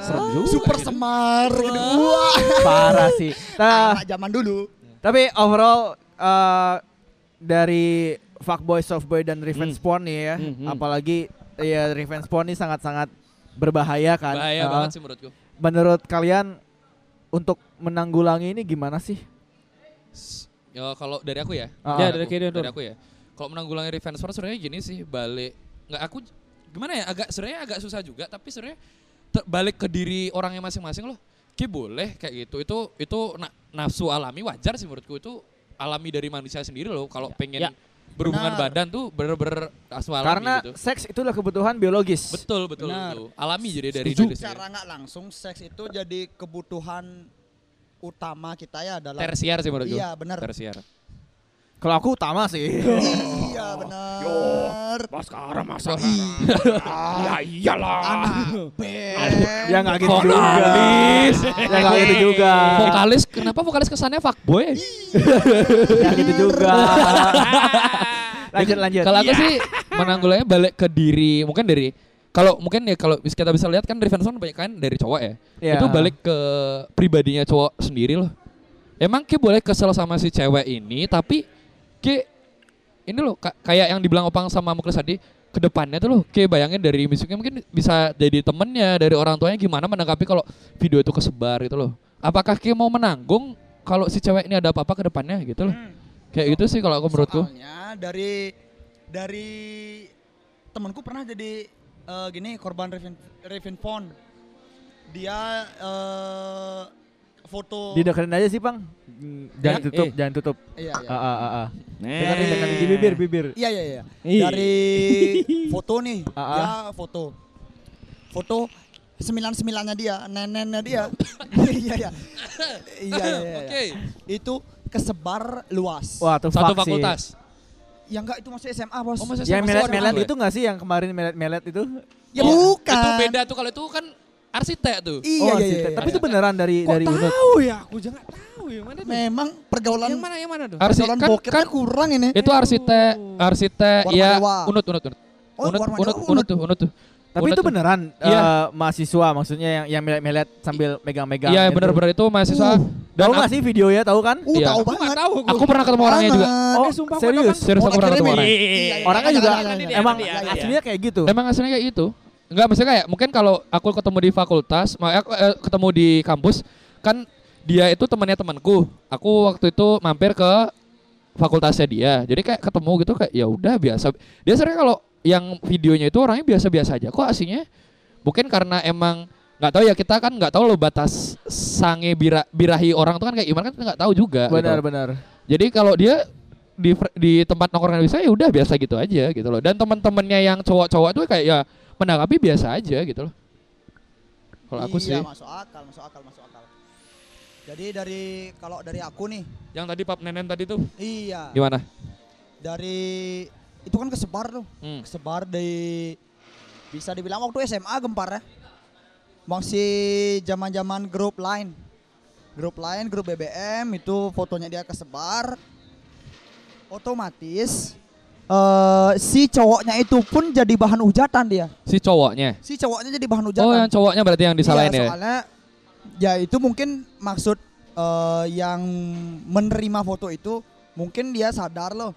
Speaker 4: Serem juga
Speaker 2: Super
Speaker 4: gitu.
Speaker 2: semar gitu. Wah.
Speaker 1: parah sih nah,
Speaker 2: Anak zaman dulu.
Speaker 1: tapi overall eh, dari fuckboy, softboy dan revenge porn nih ya.
Speaker 4: Hmm, hmm.
Speaker 1: Apalagi ya revenge porn ini sangat-sangat berbahaya kan.
Speaker 4: Bahaya
Speaker 1: Uh,
Speaker 4: banget sih menurutku.
Speaker 1: Menurut kalian untuk menanggulangi ini gimana sih?
Speaker 4: Ya kalau dari aku ya.
Speaker 1: Ah, ah.
Speaker 3: Ya, dari
Speaker 4: aku,
Speaker 3: Kidon,
Speaker 4: dari
Speaker 3: Tur.
Speaker 4: aku ya. Kalau menanggulangi revenge porn sebenarnya gini sih, balik nggak aku gimana ya agak sebenarnya agak susah juga tapi sebenarnya ter- balik ke diri orangnya masing-masing loh. Ki boleh kayak gitu. Itu itu na- nafsu alami wajar sih menurutku itu alami dari manusia sendiri loh kalau pengen
Speaker 3: ya.
Speaker 4: berhubungan
Speaker 2: Benar.
Speaker 4: badan tuh bener-bener nafsu alami
Speaker 1: Karena
Speaker 4: gitu.
Speaker 1: seks itulah kebutuhan biologis.
Speaker 4: Betul betul
Speaker 2: Benar.
Speaker 4: betul. Alami jadi dari
Speaker 2: Secara
Speaker 4: diri sendiri.
Speaker 2: nggak langsung seks itu jadi kebutuhan utama kita ya dalam
Speaker 4: Tersiar sih menurutku.
Speaker 2: Iya, benar.
Speaker 4: Tersiar.
Speaker 1: Kalau aku utama sih.
Speaker 4: (laughs)
Speaker 2: Iya benar.
Speaker 3: Sekarang
Speaker 2: (laughs)
Speaker 3: masa
Speaker 2: Iya.
Speaker 3: iyalah.
Speaker 2: Anak band.
Speaker 1: ya nggak gitu juga.
Speaker 4: Vokalis.
Speaker 1: ya nggak gitu juga.
Speaker 4: Vokalis kenapa vokalis kesannya fuckboy?
Speaker 2: Iya,
Speaker 1: Ya gitu juga. lanjut lanjut.
Speaker 4: Kalau aku sih menanggulanginya balik ke diri, mungkin dari kalau mungkin ya kalau bis- kita bisa lihat kan revenge porn banyak kan dari cowok ya.
Speaker 1: Iya.
Speaker 4: Itu balik ke pribadinya cowok sendiri loh. Emang Ki boleh kesel sama si cewek ini tapi Ki ini loh ka- kayak yang dibilang Opang sama Muklis tadi kedepannya tuh loh Ki bayangin dari musiknya mungkin bisa jadi temennya dari orang tuanya gimana menanggapi kalau video itu kesebar gitu loh. Apakah Ki mau menanggung kalau si cewek ini ada apa-apa kedepannya gitu
Speaker 2: Hmm.
Speaker 4: loh. Kayak gitu sih kalau aku menurutku.
Speaker 2: Soalnya dari dari temanku pernah jadi eh, gini korban Raven Raven Pond. Dia eh, foto
Speaker 1: Dideketin aja sih, Bang. Jangan
Speaker 3: Ya,
Speaker 1: tutup,
Speaker 3: eh.
Speaker 1: jangan tutup.
Speaker 2: Iya iya.
Speaker 1: Ah, ah, ah, ah. Deketin, deketin di bibir, bibir.
Speaker 2: Iya iya iya.
Speaker 3: Ih.
Speaker 2: Dari foto nih,
Speaker 1: Ah, ah.
Speaker 2: dia foto. Foto sembilan sembilannya dia, nenennya dia. Iya iya. Iya iya. iya.
Speaker 4: (laughs) Oke.
Speaker 2: Itu kesebar luas.
Speaker 1: Wah, tuh
Speaker 4: Satu
Speaker 1: fuck sih.
Speaker 4: fakultas.
Speaker 2: Ya enggak itu masih SMA,
Speaker 4: Oh,
Speaker 2: Bos.
Speaker 4: masih
Speaker 1: Yang
Speaker 4: Sama-sama
Speaker 1: melet-melet
Speaker 4: orang.
Speaker 1: itu nggak sih yang kemarin melet-melet itu?
Speaker 2: ya
Speaker 4: Oh,
Speaker 2: bukan.
Speaker 4: Itu beda tuh kalau itu kan arsitek tuh.
Speaker 2: Iya
Speaker 1: oh,
Speaker 2: iya
Speaker 1: sih.
Speaker 2: iya.
Speaker 1: Tapi itu beneran dari
Speaker 3: Kok
Speaker 1: dari Unut.
Speaker 3: tahu ya? Aku juga nggak tahu yang mana tuh.
Speaker 2: memang pergaulan
Speaker 3: Yang mana yang mana tuh?
Speaker 4: Arsi
Speaker 2: pergaulan
Speaker 4: kan,
Speaker 2: boketnya
Speaker 4: kan
Speaker 2: kurang ini.
Speaker 4: itu arsitek, arsitek
Speaker 2: Warna
Speaker 4: ya
Speaker 2: dewa.
Speaker 4: unut unut unut.
Speaker 2: Oh,
Speaker 4: unut, unut,
Speaker 2: warna dewa,
Speaker 4: unut
Speaker 2: unut.
Speaker 4: tuh, unut tuh.
Speaker 1: Tapi
Speaker 4: Unut
Speaker 1: itu
Speaker 4: tuh.
Speaker 1: beneran
Speaker 4: Iya.
Speaker 1: eh, mahasiswa maksudnya yang yang melet-melet sambil megang-megang.
Speaker 4: Iya,
Speaker 1: gitu.
Speaker 4: benar-benar itu mahasiswa.
Speaker 2: Uh,
Speaker 1: Tahu
Speaker 4: Dan
Speaker 1: nggak
Speaker 4: aku,
Speaker 1: sih videonya? Tahu kan?
Speaker 2: Uh,
Speaker 4: Iya.
Speaker 2: tahu
Speaker 3: Aku
Speaker 2: banget.
Speaker 3: nggak tahu.
Speaker 4: aku pernah ketemu orangnya juga.
Speaker 2: Banget.
Speaker 1: Oh,
Speaker 3: Eh, sumpah, gua
Speaker 1: serius.
Speaker 4: Serius
Speaker 2: Oh,
Speaker 4: aku pernah
Speaker 2: akhirnya
Speaker 4: ketemu
Speaker 2: milih.
Speaker 4: orangnya.
Speaker 2: Iya, iya,
Speaker 1: Orangnya
Speaker 2: iya,
Speaker 1: juga
Speaker 2: iya, iya, iya.
Speaker 1: emang
Speaker 3: iya, iya, iya.
Speaker 1: aslinya kayak gitu.
Speaker 4: Emang aslinya kayak gitu. Enggak, maksudnya kayak mungkin kalau aku ketemu di fakultas, makanya aku eh, ketemu di kampus, kan dia itu temannya temanku. Aku waktu itu mampir ke fakultasnya dia. Jadi kayak ketemu gitu kayak ya udah biasa. Dia sering kalau yang videonya itu orangnya biasa-biasa aja. Kok aslinya mungkin karena emang nggak tahu ya kita kan nggak tahu loh batas sange bira- birahi orang tuh kan kayak gimana kan kita nggak tahu juga. gitu.
Speaker 1: Benar-benar.
Speaker 4: Jadi kalau dia di fr- di tempat nongkrongan bisa ya udah biasa gitu aja gitu loh. Dan teman-temannya yang cowok-cowok tuh kayak ya menanggapi biasa aja gitu loh. Kalau aku sih
Speaker 2: Iya, masuk akal, masuk akal, masuk akal. Jadi dari kalau dari aku nih,
Speaker 4: yang tadi Pap Nenen tadi tuh
Speaker 2: iya.
Speaker 4: gimana?
Speaker 2: Dari itu kan kesebar tuh.
Speaker 4: Hmm.
Speaker 2: Kesebar dari bisa dibilang waktu SMA gempar ya. Masih zaman-zaman grup lain. Grup lain, grup BBM itu fotonya dia kesebar. Otomatis eh si cowoknya itu pun jadi bahan hujatan dia.
Speaker 4: Si cowoknya.
Speaker 2: Si cowoknya jadi bahan hujatan.
Speaker 4: Oh, yang cowoknya berarti yang disalahin
Speaker 2: Iya,
Speaker 4: ya.
Speaker 2: soalnya ya itu mungkin maksud eh, yang menerima foto itu mungkin dia sadar loh.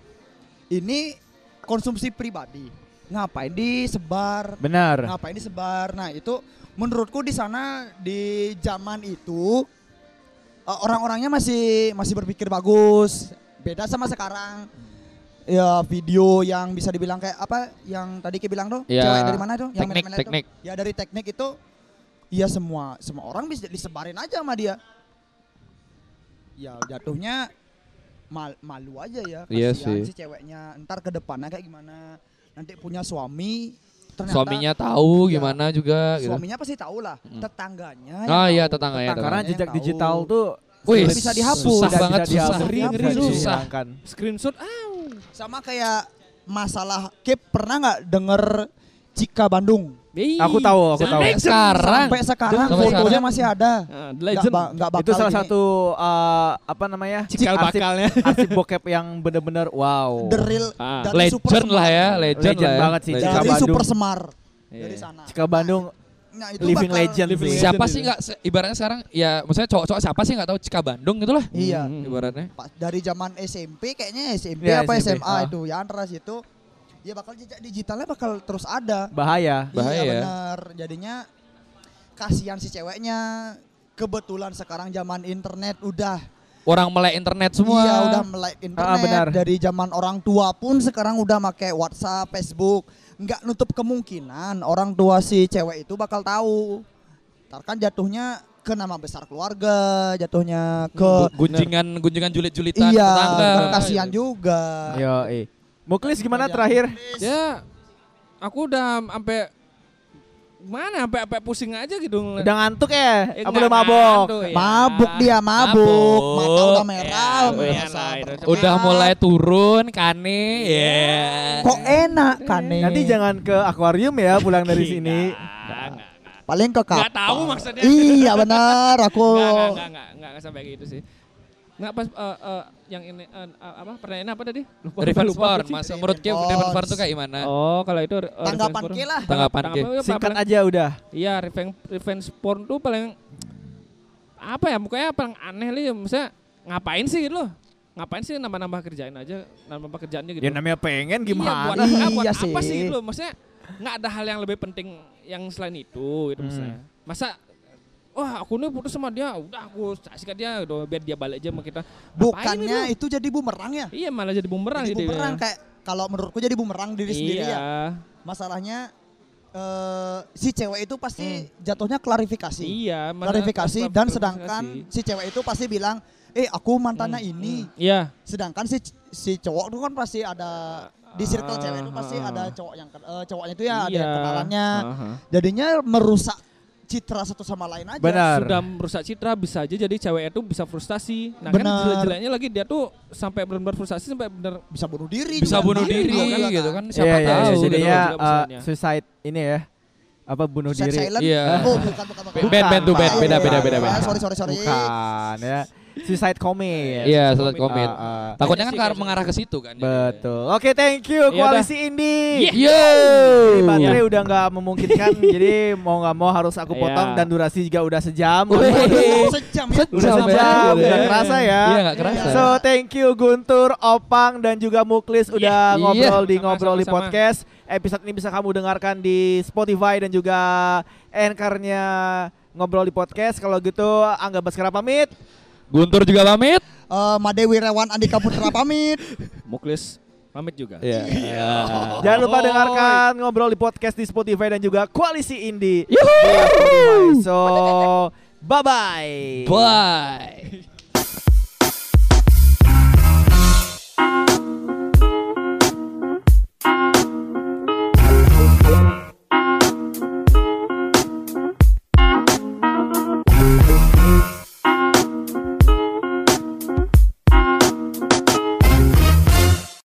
Speaker 2: Ini konsumsi pribadi. Ngapain disebar?
Speaker 1: Benar.
Speaker 2: Ngapain disebar? Nah, itu menurutku di sana di zaman itu eh, orang-orangnya masih masih berpikir bagus. Beda sama sekarang. Ya video yang bisa dibilang kayak apa yang tadi Ki bilang tuh?
Speaker 4: Ya,
Speaker 2: Cewek dari mana tuh? Yang
Speaker 4: teknik,
Speaker 2: melet-melet tuh.
Speaker 4: teknik.
Speaker 2: Ya dari teknik itu ya semua semua orang bisa disebarin aja sama dia. Ya jatuhnya mal- malu aja ya
Speaker 4: Iya
Speaker 2: kasihan
Speaker 4: sih.
Speaker 2: si ceweknya. Ntar ke depannya kayak gimana? Nanti punya suami ternyata
Speaker 4: Suaminya tahu
Speaker 2: Iya.
Speaker 4: gimana juga gitu. Hmm.
Speaker 2: suaminya pasti tahu lah, tetangganya yang
Speaker 4: Ah, iya,
Speaker 2: tahu.
Speaker 4: tetangganya tahu.
Speaker 1: Karena
Speaker 2: yang
Speaker 1: jejak
Speaker 2: tahu.
Speaker 1: digital tuh
Speaker 4: Wih,
Speaker 1: sulit
Speaker 2: bisa dihapus. Iya.
Speaker 4: Susah
Speaker 1: dan
Speaker 4: banget,
Speaker 1: tidak
Speaker 4: susah.
Speaker 1: dihapus,
Speaker 3: Ngeri,
Speaker 1: tidak
Speaker 3: ngeri, lu.
Speaker 1: dihilangkan.
Speaker 3: Screenshot ah.
Speaker 2: sama kayak masalah Kip pernah nggak denger Cika Bandung?
Speaker 3: Ih,
Speaker 1: Aku tahu, aku tahu.
Speaker 4: Sampai sekarang.
Speaker 2: Sampai sekarang
Speaker 4: Sampai
Speaker 2: fotonya
Speaker 4: sekarang.
Speaker 2: masih ada.
Speaker 3: Ah,
Speaker 2: Nggak
Speaker 3: legend.
Speaker 2: ba- nggak bakal
Speaker 1: Itu salah
Speaker 2: gini.
Speaker 1: satu eh, apa
Speaker 4: (laughs)
Speaker 1: namanya?
Speaker 3: Cikal
Speaker 1: arsip-
Speaker 3: bakalnya.
Speaker 1: Arsip bokep yang bener-bener wow.
Speaker 2: The real
Speaker 3: Ah,
Speaker 2: dari Super
Speaker 4: Legend lah
Speaker 2: Semar.
Speaker 4: ya, legend,
Speaker 1: Legend
Speaker 4: lah ya.
Speaker 1: banget sih,
Speaker 4: Legend.
Speaker 1: Cika
Speaker 2: Dari
Speaker 1: Bandung.
Speaker 2: Super Semar.
Speaker 3: Iya.
Speaker 2: Dari sana.
Speaker 1: Jika Bandung
Speaker 2: Nah, itu
Speaker 1: Living
Speaker 2: bakal-
Speaker 1: legend
Speaker 5: Living
Speaker 1: sih.
Speaker 5: legend.
Speaker 4: siapa sih nggak se- ibaratnya sekarang ya maksudnya cowok-cowok siapa sih nggak tahu Cika Bandung gitu lah
Speaker 2: Iya.
Speaker 3: Hmm.
Speaker 4: ibaratnya
Speaker 2: Pak- dari zaman SMP kayaknya SMP
Speaker 1: Iya,
Speaker 2: apa
Speaker 1: SMP,
Speaker 2: SMA
Speaker 1: ah.
Speaker 2: itu ya antara situ ya bakal jejak digitalnya bakal terus ada.
Speaker 1: Bahaya.
Speaker 4: Bahaya.
Speaker 2: Iya benar. Jadinya kasihan si ceweknya. Kebetulan sekarang zaman internet udah
Speaker 4: orang melek internet semua
Speaker 2: Iya, udah melek internet.
Speaker 1: benar.
Speaker 2: Dari zaman orang tua pun sekarang udah make WhatsApp, Facebook. Nggak nutup kemungkinan orang tua si cewek itu bakal tahu. Ntar kan jatuhnya ke nama besar keluarga, jatuhnya ke
Speaker 4: Gu- gunjingan gunjingan julit-julitan
Speaker 2: iya,
Speaker 4: tetangga.
Speaker 2: kan kasihan juga.
Speaker 1: Yo, eh. Muklis gimana
Speaker 2: Iya.
Speaker 1: terakhir?
Speaker 3: Ya, aku udah sampai mana sampai sampai pusing aja gitu. ngeliat-
Speaker 1: Udah ngantuk ya? Apa
Speaker 3: Eh, nggak
Speaker 1: udah mabok?
Speaker 3: ngantuk ya.
Speaker 2: Mabuk dia, mabuk.
Speaker 4: Mabuk.
Speaker 2: Mata udah
Speaker 3: Ya,
Speaker 2: merah,
Speaker 3: lumayan
Speaker 2: merasa
Speaker 3: lah itu.
Speaker 2: berkeras.
Speaker 4: udah mulai turun kane ya
Speaker 2: Kok enak kan nih?
Speaker 1: Nanti jangan ke akuarium ya pulang dari sini.
Speaker 3: Enggak, enggak, enggak.
Speaker 2: paling ke kapal.
Speaker 3: Nggak tahu maksudnya.
Speaker 2: Iya benar, aku
Speaker 3: Enggak, enggak, enggak, enggak, enggak, enggak sampai gitu sih. Enggak pas eh, eh, yang ini eh, apa pertanyaannya apa tadi? Lupa,
Speaker 4: Revenge
Speaker 3: lupa
Speaker 4: porn
Speaker 3: aku sih.
Speaker 4: mas menurut Kim
Speaker 2: Revenge
Speaker 4: revenge
Speaker 2: porn.
Speaker 4: porn tuh kayak gimana
Speaker 3: Oh, kalau itu eh,
Speaker 2: Tanggapan
Speaker 3: revenge
Speaker 2: Ki
Speaker 3: porn.
Speaker 2: lah.
Speaker 4: Tanggapan Ki.
Speaker 3: Tanggapan
Speaker 1: Singkat
Speaker 3: paling-
Speaker 1: aja udah.
Speaker 3: Iya, revenge revenge porn tuh paling apa ya? Mukanya paling aneh lah ya. Misalnya ngapain sih gitu loh? Ngapain sih nambah-nambah kerjaan aja, nambah kerjaannya gitu.
Speaker 1: Ya namanya pengen
Speaker 3: Iya, buat,
Speaker 1: gimana?
Speaker 3: apa- buat
Speaker 2: Iya
Speaker 3: apa sih
Speaker 2: sih.
Speaker 3: gitu loh? Maksudnya nggak ada hal yang lebih penting yang selain itu gitu
Speaker 2: Hmm.
Speaker 3: misalnya. Masa wah aku nih putus sama dia, udah aku sikat dia, udah biar dia balik aja sama kita. Ngapain
Speaker 2: bukannya
Speaker 3: gitu?
Speaker 2: itu jadi bumerang ya?
Speaker 3: Iya malah jadi bumerang
Speaker 2: jadi
Speaker 3: gitu.
Speaker 2: bumerang kayak kalau menurutku jadi bumerang diri sendiri
Speaker 3: Iya.
Speaker 2: ya. Masalahnya eh si cewek itu pasti jatuhnya klarifikasi.
Speaker 3: Hmm. Iya, mana-
Speaker 2: klarifikasi
Speaker 3: klarifikasi.
Speaker 2: dan sedangkan si cewek itu pasti bilang, "Eh, aku mantannya ini."
Speaker 3: Iya.
Speaker 2: Sedangkan si si cowok itu kan pasti ada di circle
Speaker 3: Ah,
Speaker 2: cewek itu pasti
Speaker 3: ah,
Speaker 2: ada
Speaker 3: ah.
Speaker 2: cowok yang ke- eh, cowoknya itu ya ada
Speaker 3: iya.
Speaker 2: yang kenalannya.
Speaker 3: Aha.
Speaker 2: Jadinya merusak citra satu sama lain aja.
Speaker 1: Benar.
Speaker 3: Sudah merusak citra bisa aja jadi cewek itu bisa frustasi. Nah kan
Speaker 2: Benar.
Speaker 3: jelek-jeleknya lagi dia tuh sampai benar-benar frustasi sampai benar
Speaker 2: Bisa bunuh diri.
Speaker 4: bisa
Speaker 2: juga
Speaker 4: bunuh
Speaker 2: kan.
Speaker 4: diri
Speaker 2: Iya,
Speaker 4: gitu
Speaker 2: kan.
Speaker 4: kan siapa
Speaker 1: Iya, iya,
Speaker 4: tahu
Speaker 1: iya,
Speaker 4: gitu
Speaker 1: jadinya
Speaker 4: loh.
Speaker 3: juga misalnya.
Speaker 1: eh, suicide ini ya. Apa bunuh
Speaker 2: Set
Speaker 1: diri?
Speaker 2: silent.
Speaker 4: Iya.
Speaker 2: Oh, bukan bukan bukan.
Speaker 4: Band band tuh band
Speaker 1: Pak.
Speaker 4: beda beda beda
Speaker 2: Ya,
Speaker 4: beda.
Speaker 2: Sorry sorry sorry.
Speaker 1: Bukan ya. Suicide commit.
Speaker 4: Iya salat komit.
Speaker 1: Ah, ah.
Speaker 4: Takutnya kan
Speaker 3: Iya
Speaker 4: ke-
Speaker 3: sih, kayak
Speaker 4: mengarah ke situ kan.
Speaker 1: Betul. Oke, thank you
Speaker 3: Iya,
Speaker 1: koalisi Indi.
Speaker 4: Iya. Yo.
Speaker 1: Ini baterai udah nggak
Speaker 4: (laughs)
Speaker 1: memungkinkan, jadi mau nggak mau harus aku potong
Speaker 3: Iya.
Speaker 1: dan durasi juga udah sejam.
Speaker 4: Wih.
Speaker 2: Sejam ya.
Speaker 1: Udah
Speaker 4: Sejam
Speaker 1: sejam,
Speaker 4: ya.
Speaker 1: nggak kerasa ya.
Speaker 4: Iya nggak kerasa.
Speaker 1: So thank you Guntur, Opang dan juga Muklis udah
Speaker 4: Iya.
Speaker 1: ngobrol di
Speaker 3: Sama-sama,
Speaker 1: ngobrol di
Speaker 3: sama-sama.
Speaker 1: podcast. Episode ini bisa kamu dengarkan di Spotify dan juga anchornya ngobrol di podcast. Kalau gitu Angga Baskara pamit.
Speaker 4: Guntur juga pamit.
Speaker 2: Eh, Made Wirawan Andika Putra pamit.
Speaker 3: Muklis pamit juga.
Speaker 4: Iya.
Speaker 1: Jangan lupa
Speaker 3: Oi.
Speaker 1: dengarkan ngobrol di podcast di Spotify dan juga Koalisi Indie.
Speaker 4: Yuhuu.
Speaker 1: So bye bye.
Speaker 4: Bye.